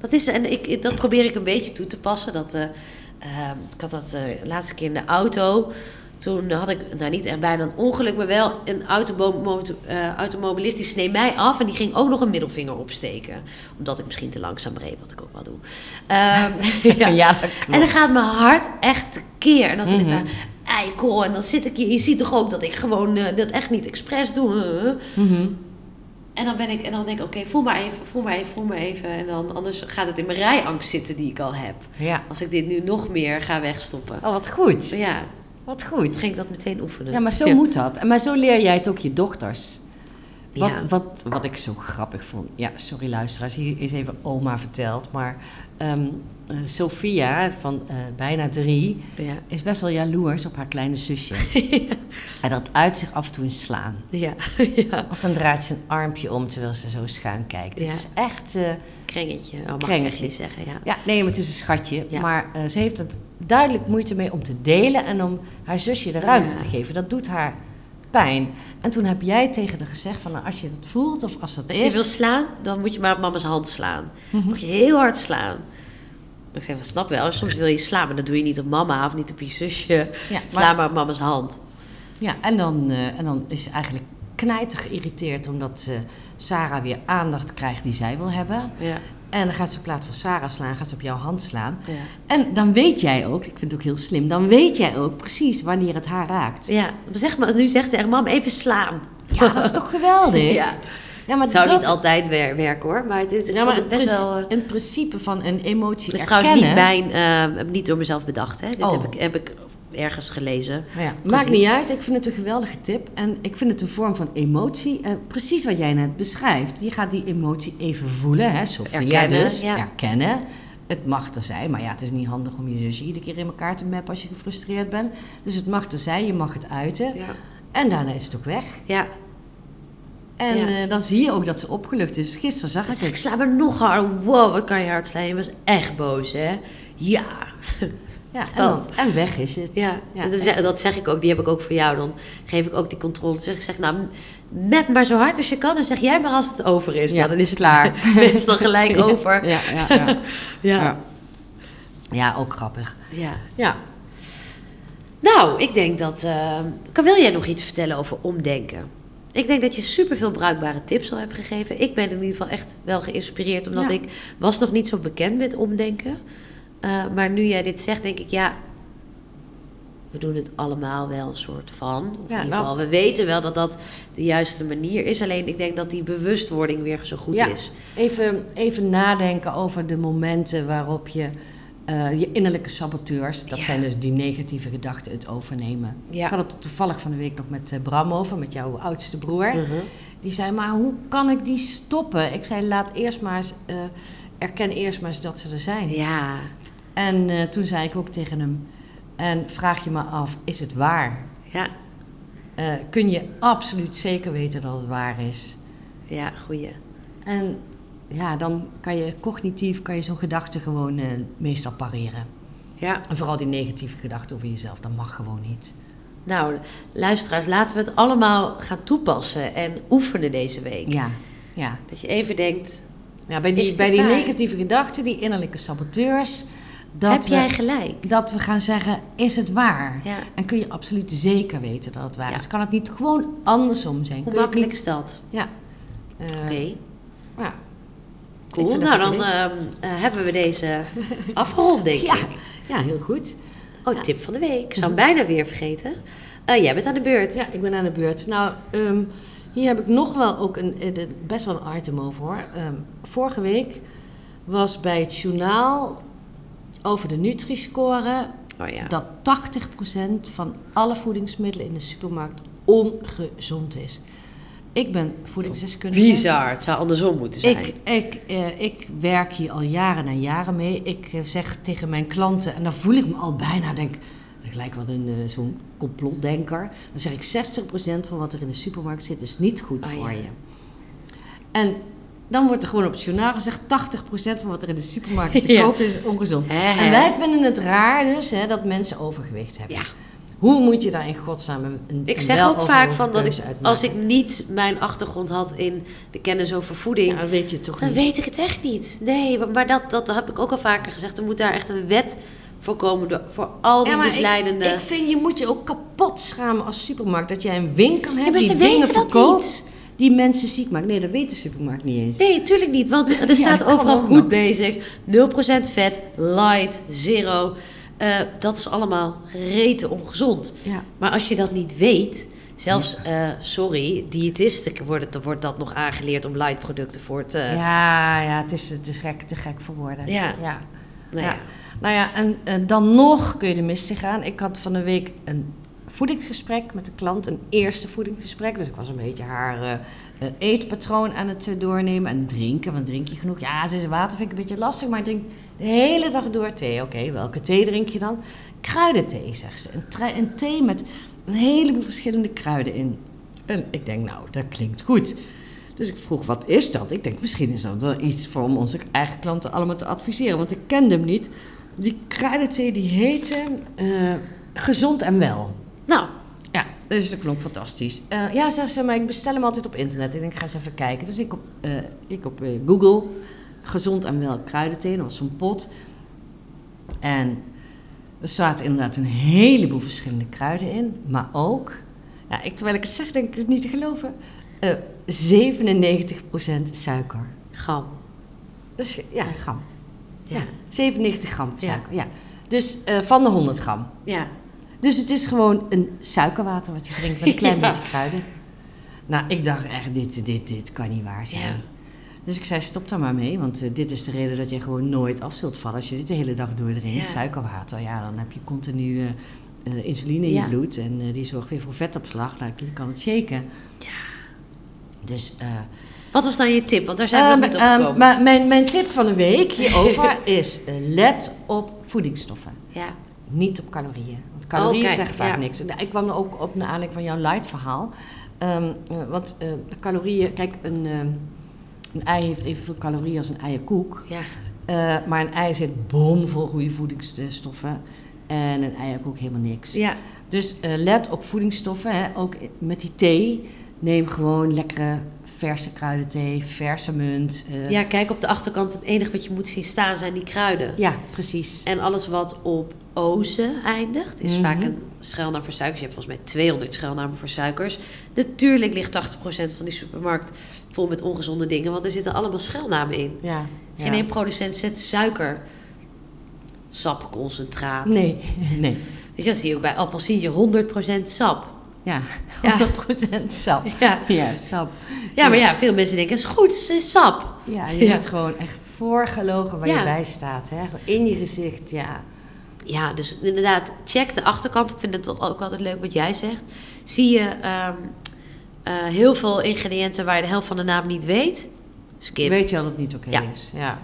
Speaker 1: Dat is, en ik, ik- dat probeer ik een beetje toe te passen. Dat, eh, ehm, ik had dat eh, de laatste keer in de auto. Toen had ik, nou niet echt bijna een ongeluk, maar wel een autobo- moto- eh, automobilist die sneed mij af. En die ging ook nog een middelvinger opsteken. Omdat ik misschien te langzaam reed, wat ik ook wel doe. Ehm,
Speaker 2: Ja,
Speaker 1: ja.
Speaker 2: dat
Speaker 1: En
Speaker 2: klopt.
Speaker 1: dan gaat mijn hart echt tekeer. En dan zit
Speaker 2: Mhm.
Speaker 1: ik daar, eikel. En dan zit ik hier. Je ziet toch ook dat ik gewoon eh, dat echt niet expres doe. huh?
Speaker 2: Mhm.
Speaker 1: En dan ben ik en dan denk ik, oké, voel maar even, voel maar even, voel maar even. En dan anders gaat het in mijn rijangst zitten die ik al heb.
Speaker 2: Ja.
Speaker 1: Als ik dit nu nog meer ga wegstoppen.
Speaker 2: Oh, wat goed.
Speaker 1: Maar ja,
Speaker 2: Wat goed.
Speaker 1: dan ging ik dat meteen oefenen.
Speaker 2: Ja, maar zo moet dat. En Maar zo leer jij het ook je dochters. Wat,
Speaker 1: Ja.
Speaker 2: wat, wat ik zo grappig vond. Ja, sorry luisteraars, hier is even oma verteld. Maar ehm eh, Sophia van eh, bijna drie
Speaker 1: Ja,
Speaker 2: is best wel jaloers op haar kleine zusje. En dat uit zich af en toe in slaan.
Speaker 1: ja, ja.
Speaker 2: Of dan draait ze een armpje om terwijl ze zo schuin kijkt.
Speaker 1: Ja.
Speaker 2: Het is echt... eh,
Speaker 1: Krengetje, oh, mag ik echt
Speaker 2: Krengetje.
Speaker 1: niet zeggen, ja.
Speaker 2: ja, nee, maar het is een schatje.
Speaker 1: Ja.
Speaker 2: Maar eh, ze heeft er duidelijk moeite mee om te delen en om haar zusje de ruimte
Speaker 1: Ja.
Speaker 2: te geven. Dat doet haar pijn. En toen heb jij tegen haar gezegd van nou, als je dat voelt of als dat
Speaker 1: Als
Speaker 2: is...
Speaker 1: je wil slaan, dan moet je maar op mama's hand slaan.
Speaker 2: Mhm.
Speaker 1: Dan Moet je heel hard slaan. Ik zei van, snap wel, soms wil je slaan, maar dat doe je niet op mama of niet op je zusje.
Speaker 2: Ja,
Speaker 1: Sla
Speaker 2: maar,
Speaker 1: maar op mama's hand.
Speaker 2: ja en, dan, eh, en dan is eigenlijk knijter geïrriteerd omdat eh, Sarah weer aandacht krijgt die zij wil hebben.
Speaker 1: Ja.
Speaker 2: En dan gaat ze in plaats van Sarah slaan, gaat ze op jouw hand slaan.
Speaker 1: Ja.
Speaker 2: En dan weet jij ook, ik vind het ook heel slim, dan weet jij ook precies wanneer het haar raakt.
Speaker 1: ja. Zeg maar, nu zegt ze echt, mam, even slaan.
Speaker 2: Ja, dat is toch geweldig?
Speaker 1: Ja.
Speaker 2: Ja, maar
Speaker 1: Het zou
Speaker 2: dat-
Speaker 1: niet altijd wer- werken hoor, maar het is ik
Speaker 2: Ja, maar
Speaker 1: vond
Speaker 2: het
Speaker 1: het best
Speaker 2: prin-
Speaker 1: wel... eh,
Speaker 2: een principe van een emotie
Speaker 1: Het is
Speaker 2: erkennen.
Speaker 1: trouwens niet, mijn, eh, niet door mezelf bedacht. Hè? Dit
Speaker 2: Oh.
Speaker 1: heb, ik, heb ik ergens gelezen.
Speaker 2: Maar ja, maakt niet uit, ik vind het een geweldige tip. En ik vind het een vorm van emotie. Eh, precies wat jij net beschrijft. Die gaat die emotie even voelen, hè, Sophia
Speaker 1: Erkennen,
Speaker 2: dus.
Speaker 1: ja.
Speaker 2: Erkennen. Het mag er zijn, maar ja, het is niet handig om je zusje iedere keer in elkaar te mappen als je gefrustreerd bent. Dus het mag er zijn, je mag het uiten.
Speaker 1: Ja.
Speaker 2: En daarna is het ook weg.
Speaker 1: ja.
Speaker 2: En
Speaker 1: Ja.
Speaker 2: eh, dan zie je ook dat ze opgelucht is. Gisteren zag
Speaker 1: Hij
Speaker 2: ik
Speaker 1: zegt,
Speaker 2: het.
Speaker 1: sla me nog hard. Wow, wat kan je hard slaan. Je was echt boos, hè? Ja.
Speaker 2: Ja, en,
Speaker 1: dat.
Speaker 2: dan- en weg is het.
Speaker 1: Ja,
Speaker 2: Ja,
Speaker 1: en dat, zeg, dat zeg ik ook. Die heb ik ook voor jou. Dan geef ik ook die controle. Dus ik zeg, nou, map maar zo hard als je kan. En zeg jij maar als het over is.
Speaker 2: Ja.
Speaker 1: Nou, dan
Speaker 2: is het klaar.
Speaker 1: is het dan gelijk over.
Speaker 2: Ja, ja, ja.
Speaker 1: Ja.
Speaker 2: ja. Ja, ook grappig.
Speaker 1: Ja.
Speaker 2: Ja.
Speaker 1: Nou, ik denk dat... eh, kan wil jij nog iets vertellen over omdenken? Ik denk dat je superveel bruikbare tips al hebt gegeven. Ik ben in ieder geval echt wel geïnspireerd. Omdat
Speaker 2: Ja.
Speaker 1: ik was nog niet zo bekend met omdenken. Eh, maar nu jij dit zegt, denk ik, ja... We doen het allemaal wel een soort van. Of
Speaker 2: Ja,
Speaker 1: in ieder
Speaker 2: nou.
Speaker 1: geval, we weten wel dat dat de juiste manier is. Alleen ik denk dat die bewustwording weer zo goed
Speaker 2: Ja.
Speaker 1: is.
Speaker 2: Even, even nadenken over de momenten waarop je eh, je innerlijke saboteurs, dat
Speaker 1: Ja.
Speaker 2: zijn dus die negatieve gedachten, het overnemen.
Speaker 1: Ja.
Speaker 2: Ik had het toevallig van de week nog met eh, Bram over, met jouw oudste broer. Die zei, maar hoe kan ik die stoppen? Ik zei, laat eerst maar eens, eh, erken eerst maar eens dat ze er zijn.
Speaker 1: Ja,
Speaker 2: En eh, toen zei ik ook tegen hem, en vraag je me af, is het waar?
Speaker 1: ja,
Speaker 2: Eh, kun je absoluut zeker weten dat het waar is?
Speaker 1: ja, goeie.
Speaker 2: En ja, dan kan je cognitief kan je zo'n gedachte gewoon eh, meestal pareren.
Speaker 1: Ja.
Speaker 2: En vooral die negatieve gedachten over jezelf, dat mag gewoon niet.
Speaker 1: Nou, luisteraars, laten we het allemaal gaan toepassen en oefenen deze week.
Speaker 2: Ja, ja.
Speaker 1: Dat je even denkt,
Speaker 2: ja bij
Speaker 1: Is
Speaker 2: die,
Speaker 1: dit
Speaker 2: bij die
Speaker 1: waar?
Speaker 2: negatieve gedachten, die innerlijke saboteurs, dat,
Speaker 1: heb
Speaker 2: we,
Speaker 1: jij gelijk?
Speaker 2: dat we gaan zeggen, is het waar?
Speaker 1: Ja.
Speaker 2: En kun je absoluut zeker weten dat het waar
Speaker 1: Ja.
Speaker 2: is? Kan het niet gewoon andersom zijn?
Speaker 1: Hoe
Speaker 2: Kun je het
Speaker 1: makkelijk is dat?
Speaker 2: niet- Ja. Eh,
Speaker 1: Oké,
Speaker 2: ja. Ik
Speaker 1: cool.
Speaker 2: vind dat
Speaker 1: Nou,
Speaker 2: een
Speaker 1: dan eh,
Speaker 2: goed
Speaker 1: ehm, eh, hebben we deze afgerond, denk
Speaker 2: Ja,
Speaker 1: ik.
Speaker 2: ja, heel goed.
Speaker 1: Oh, tip van de week. Ik zou hem bijna weer vergeten. Eh, jij bent aan de beurt.
Speaker 2: Ja, ik ben aan de beurt. Nou, ehm, hier heb ik nog wel ook een, eh, de- best wel een item over hoor. Ehm, vorige week was bij het journaal over de Nutri-score
Speaker 1: Oh ja.
Speaker 2: dat 80% van alle voedingsmiddelen in de supermarkt ongezond is. Ik ben voedingsdeskundige.
Speaker 1: Bizar. Het zou andersom moeten zijn.
Speaker 2: Ik, ik, eh, ik werk hier al jaren en jaren mee. Ik eh, zeg tegen mijn klanten, en dan voel ik me al bijna, denk ik lijk wel een, eh, zo'n complotdenker. Dan zeg ik 60% van wat er in de supermarkt zit is niet goed
Speaker 1: Oh,
Speaker 2: voor
Speaker 1: ja.
Speaker 2: je. En dan wordt er gewoon op het journaal gezegd, 80% van wat er in de supermarkt te
Speaker 1: Ja. Eh.
Speaker 2: koop is ongezond.
Speaker 1: Hè, hè.
Speaker 2: En wij vinden het raar dus hè, dat mensen overgewicht hebben.
Speaker 1: ja.
Speaker 2: Hoe moet je daar in godsnaam een, een
Speaker 1: ik
Speaker 2: een
Speaker 1: zeg ook vaak
Speaker 2: weloverwogen
Speaker 1: van dat ik,
Speaker 2: keuze uit
Speaker 1: als ik
Speaker 2: maken?
Speaker 1: niet mijn achtergrond had in de kennis over voeding,
Speaker 2: Ja, dat weet je toch
Speaker 1: Dan
Speaker 2: niet.
Speaker 1: weet ik het echt niet. Nee, maar- maar dat, dat heb ik ook al vaker gezegd. Er moet daar echt een wet voor komen. door- Voor al die
Speaker 2: maar ik-
Speaker 1: misleidende...
Speaker 2: Ik, vind, je moet je ook kapot schamen als supermarkt. Dat jij een winkel hebt
Speaker 1: maar
Speaker 2: die
Speaker 1: ze
Speaker 2: dingen
Speaker 1: weten dat
Speaker 2: verkoopt
Speaker 1: niet.
Speaker 2: die mensen ziek maakt. Nee, dat weet de supermarkt niet eens.
Speaker 1: Nee, tuurlijk niet. Want er
Speaker 2: Ja,
Speaker 1: staat
Speaker 2: dat kan
Speaker 1: overal
Speaker 2: ook
Speaker 1: goed
Speaker 2: nog.
Speaker 1: bezig. 0% vet, light, zero. Eh, dat is allemaal rete ongezond.
Speaker 2: Ja.
Speaker 1: Maar als je dat niet weet... Zelfs, eh, sorry, diëtisten worden, wordt dat nog aangeleerd om light producten voor te...
Speaker 2: Ja, ja het is, het is gek, te gek voor woorden.
Speaker 1: Ja.
Speaker 2: ja.
Speaker 1: Nou
Speaker 2: ja.
Speaker 1: ja.
Speaker 2: Nou ja, en, eh, dan nog kun je er mis in gaan. Ik had van de week een voedingsgesprek met een klant, een eerste voedingsgesprek. Dus ik was een beetje haar eh, eh, eetpatroon aan het eh, doornemen en drinken. Want drink je genoeg? Ja, ze is water vind ik een beetje lastig, maar ik drink de hele dag door thee. Oké, welke thee drink je dan? Kruidenthee, zegt ze. Een, tra- een thee met een heleboel verschillende kruiden in. En ik denk, nou, dat klinkt goed. Dus ik vroeg, wat is dat? Ik denk, misschien is dat wel iets voor om onze eigen klanten allemaal te adviseren. Want ik kende hem niet. Die kruidenthee die heette eh, Gezond en Wel.
Speaker 1: Nou,
Speaker 2: Ja, dus dat klonk fantastisch. Eh, ja, zegt ze, maar ik bestel hem altijd op internet. Ik denk, ik ga eens even kijken. Dus ik op, eh, ik op eh, Google, gezond en wel kruidenthee, dat was zo'n pot. En er zaten inderdaad een heleboel verschillende kruiden in, maar ook... Ja, ik, terwijl ik het zeg, denk ik het is niet te geloven. Eh 97% suiker.
Speaker 1: Gram.
Speaker 2: Dus ja, gram. Ja.
Speaker 1: Ja.
Speaker 2: 97 gram
Speaker 1: Ja.
Speaker 2: suiker. Ja. Dus eh, van de 100 gram.
Speaker 1: Ja.
Speaker 2: Dus het is gewoon een suikerwater wat je drinkt met een klein
Speaker 1: Ja.
Speaker 2: beetje kruiden. Nou, ik dacht echt, dit, dit, dit kan niet waar zijn.
Speaker 1: Ja.
Speaker 2: Dus ik zei, stop daar maar mee, want eh, dit is de reden dat je gewoon nooit af zult vallen. Als je dit de hele dag doordrinkt,
Speaker 1: Ja.
Speaker 2: suikerwater, ja, dan heb je continu eh, eh, insuline in
Speaker 1: Ja.
Speaker 2: je bloed. En eh, die zorgt weer voor vetopslag. Nou, je kan het shaken. Dus... eh,
Speaker 1: Wat was dan je tip? Want daar zijn we nog niet op
Speaker 2: Ehm, ehm,
Speaker 1: gekomen.
Speaker 2: maar mijn, mijn tip van de week hierover is: eh, let op voedingsstoffen.
Speaker 1: ja.
Speaker 2: Niet op calorieën. Want calorieën
Speaker 1: Oké,
Speaker 2: zeggen vaak
Speaker 1: Oh, ja.
Speaker 2: niks. Nou, ik kwam er ook op naar aanleiding van jouw light verhaal. Ehm, eh, want eh, calorieën, kijk, een, ehm, een ei heeft evenveel calorieën als een eierkoek.
Speaker 1: Ja.
Speaker 2: Eh, maar een ei zit bomvol goede voedingsstoffen. En een eierkoek helemaal niks.
Speaker 1: Ja.
Speaker 2: Dus eh, let op voedingsstoffen, hè. ook i- met die thee. Neem gewoon lekkere verse kruidenthee, verse munt. eh,
Speaker 1: ja, kijk op de achterkant. Het enige wat je moet zien staan zijn die kruiden.
Speaker 2: ja, precies.
Speaker 1: En alles wat op ozen eindigt, is
Speaker 2: Mhm.
Speaker 1: vaak een schuilnaam voor suikers. Je hebt volgens mij 200 schuilnamen voor suikers. Natuurlijk ligt 80% van die supermarkt vol met ongezonde dingen, want er zitten allemaal schuilnamen in.
Speaker 2: ja, ja.
Speaker 1: Geen één producent zet suiker. Sapconcentraat.
Speaker 2: Nee, nee.
Speaker 1: Dus dat zie je ook bij appelsientje 100% sap.
Speaker 2: Ja,
Speaker 1: Ja.
Speaker 2: 100% sap.
Speaker 1: Ja.
Speaker 2: Ja, sap.
Speaker 1: ja, maar ja, veel mensen denken: is goed, het is sap.
Speaker 2: Ja, je
Speaker 1: Ja.
Speaker 2: wordt gewoon echt voorgelogen waar
Speaker 1: Ja.
Speaker 2: je bij staat. Hè? In je gezicht, ja.
Speaker 1: Ja, dus inderdaad, check de achterkant. Ik vind het ook altijd leuk wat jij zegt. Zie je ehm, eh, heel veel ingrediënten waar je de helft van de naam niet weet? Skip.
Speaker 2: Weet je al dat het niet oké
Speaker 1: Ja.
Speaker 2: is. Ja.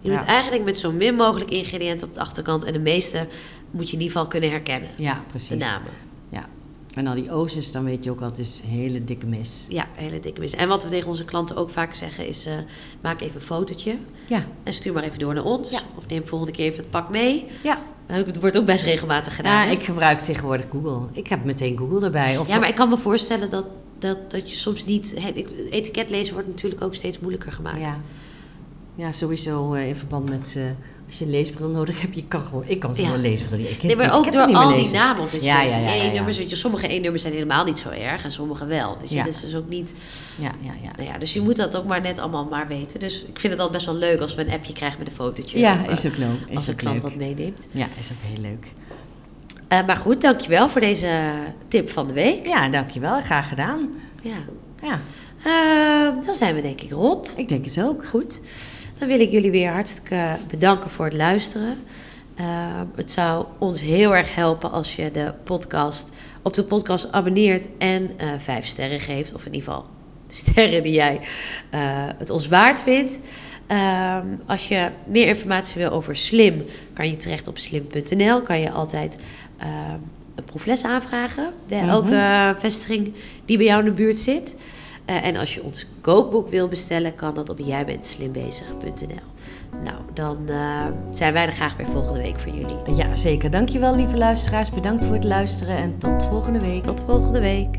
Speaker 1: je moet
Speaker 2: ja.
Speaker 1: eigenlijk met zo min mogelijk ingrediënten op de achterkant en de meeste moet je in ieder geval kunnen herkennen.
Speaker 2: ja,
Speaker 1: De
Speaker 2: precies.
Speaker 1: namen.
Speaker 2: Ja. En al die oosters, dan weet je ook wel, het is hele dikke mis.
Speaker 1: Ja, hele dikke mis. En wat we tegen onze klanten ook vaak zeggen is: eh, maak even een fotootje
Speaker 2: Ja,
Speaker 1: en stuur maar even door naar ons.
Speaker 2: Ja.
Speaker 1: Of neem volgende keer even het pak mee.
Speaker 2: ja.
Speaker 1: Nou, Het wordt ook best regelmatig gedaan.
Speaker 2: Ja,
Speaker 1: hè?
Speaker 2: ik gebruik tegenwoordig Google. Ik heb meteen Google erbij. Of
Speaker 1: Ja, maar ik kan me voorstellen dat, dat, dat je soms niet... he- ik- Etiket lezen wordt natuurlijk ook steeds moeilijker gemaakt.
Speaker 2: Ja. Ja, sowieso eh, in verband met eh, als je een leesbril nodig hebt, je kan gewoon, ik kan zo'n
Speaker 1: Ja.
Speaker 2: leesbril niet. Ik,
Speaker 1: Nee,
Speaker 2: ik
Speaker 1: maar ook
Speaker 2: kan
Speaker 1: door
Speaker 2: het niet
Speaker 1: al
Speaker 2: meer
Speaker 1: die
Speaker 2: lezen.
Speaker 1: namen. Omdat je
Speaker 2: Ja,
Speaker 1: ja,
Speaker 2: ja, ja, ja, ja.
Speaker 1: nummers weet je, sommige E-nummers zijn helemaal niet zo erg en sommige wel. Dus je,
Speaker 2: Ja.
Speaker 1: dat is dus ook niet...
Speaker 2: Ja, ja, ja.
Speaker 1: Nou ja, dus je moet dat ook maar net allemaal maar weten. Dus ik vind het altijd best wel leuk als we een appje krijgen met een fotootje.
Speaker 2: Ja,
Speaker 1: of,
Speaker 2: is
Speaker 1: eh,
Speaker 2: ook leuk. Is
Speaker 1: Als een
Speaker 2: ook
Speaker 1: klant
Speaker 2: leuk.
Speaker 1: wat meeneemt.
Speaker 2: Ja, is ook heel leuk.
Speaker 1: Eh, maar goed, dankjewel voor deze tip van de week.
Speaker 2: Ja, dankjewel. Graag gedaan.
Speaker 1: Ja.
Speaker 2: Ja,
Speaker 1: Eh, dan zijn we denk ik rond.
Speaker 2: ik denk het ook.
Speaker 1: Goed. Dan wil ik jullie weer hartstikke bedanken voor het luisteren. Eh, het zou ons heel erg helpen als je de podcast op de podcast abonneert en eh, vijf sterren geeft. Of in ieder geval de sterren die jij eh, het ons waard vindt. Ehm, als je meer informatie wil over Slim, kan je terecht op slim.nl. Kan je altijd eh, een proefles aanvragen bij
Speaker 2: Mhm.
Speaker 1: elke eh, vestiging die bij jou in de buurt zit. Eh, en als je ons kookboek wil bestellen, kan dat op jijbentslimbezig.nl. Nou, dan eh, zijn wij er graag weer volgende week voor jullie.
Speaker 2: Ja, zeker. Dankjewel, lieve luisteraars. Bedankt voor het luisteren en tot volgende week.
Speaker 1: Tot volgende week.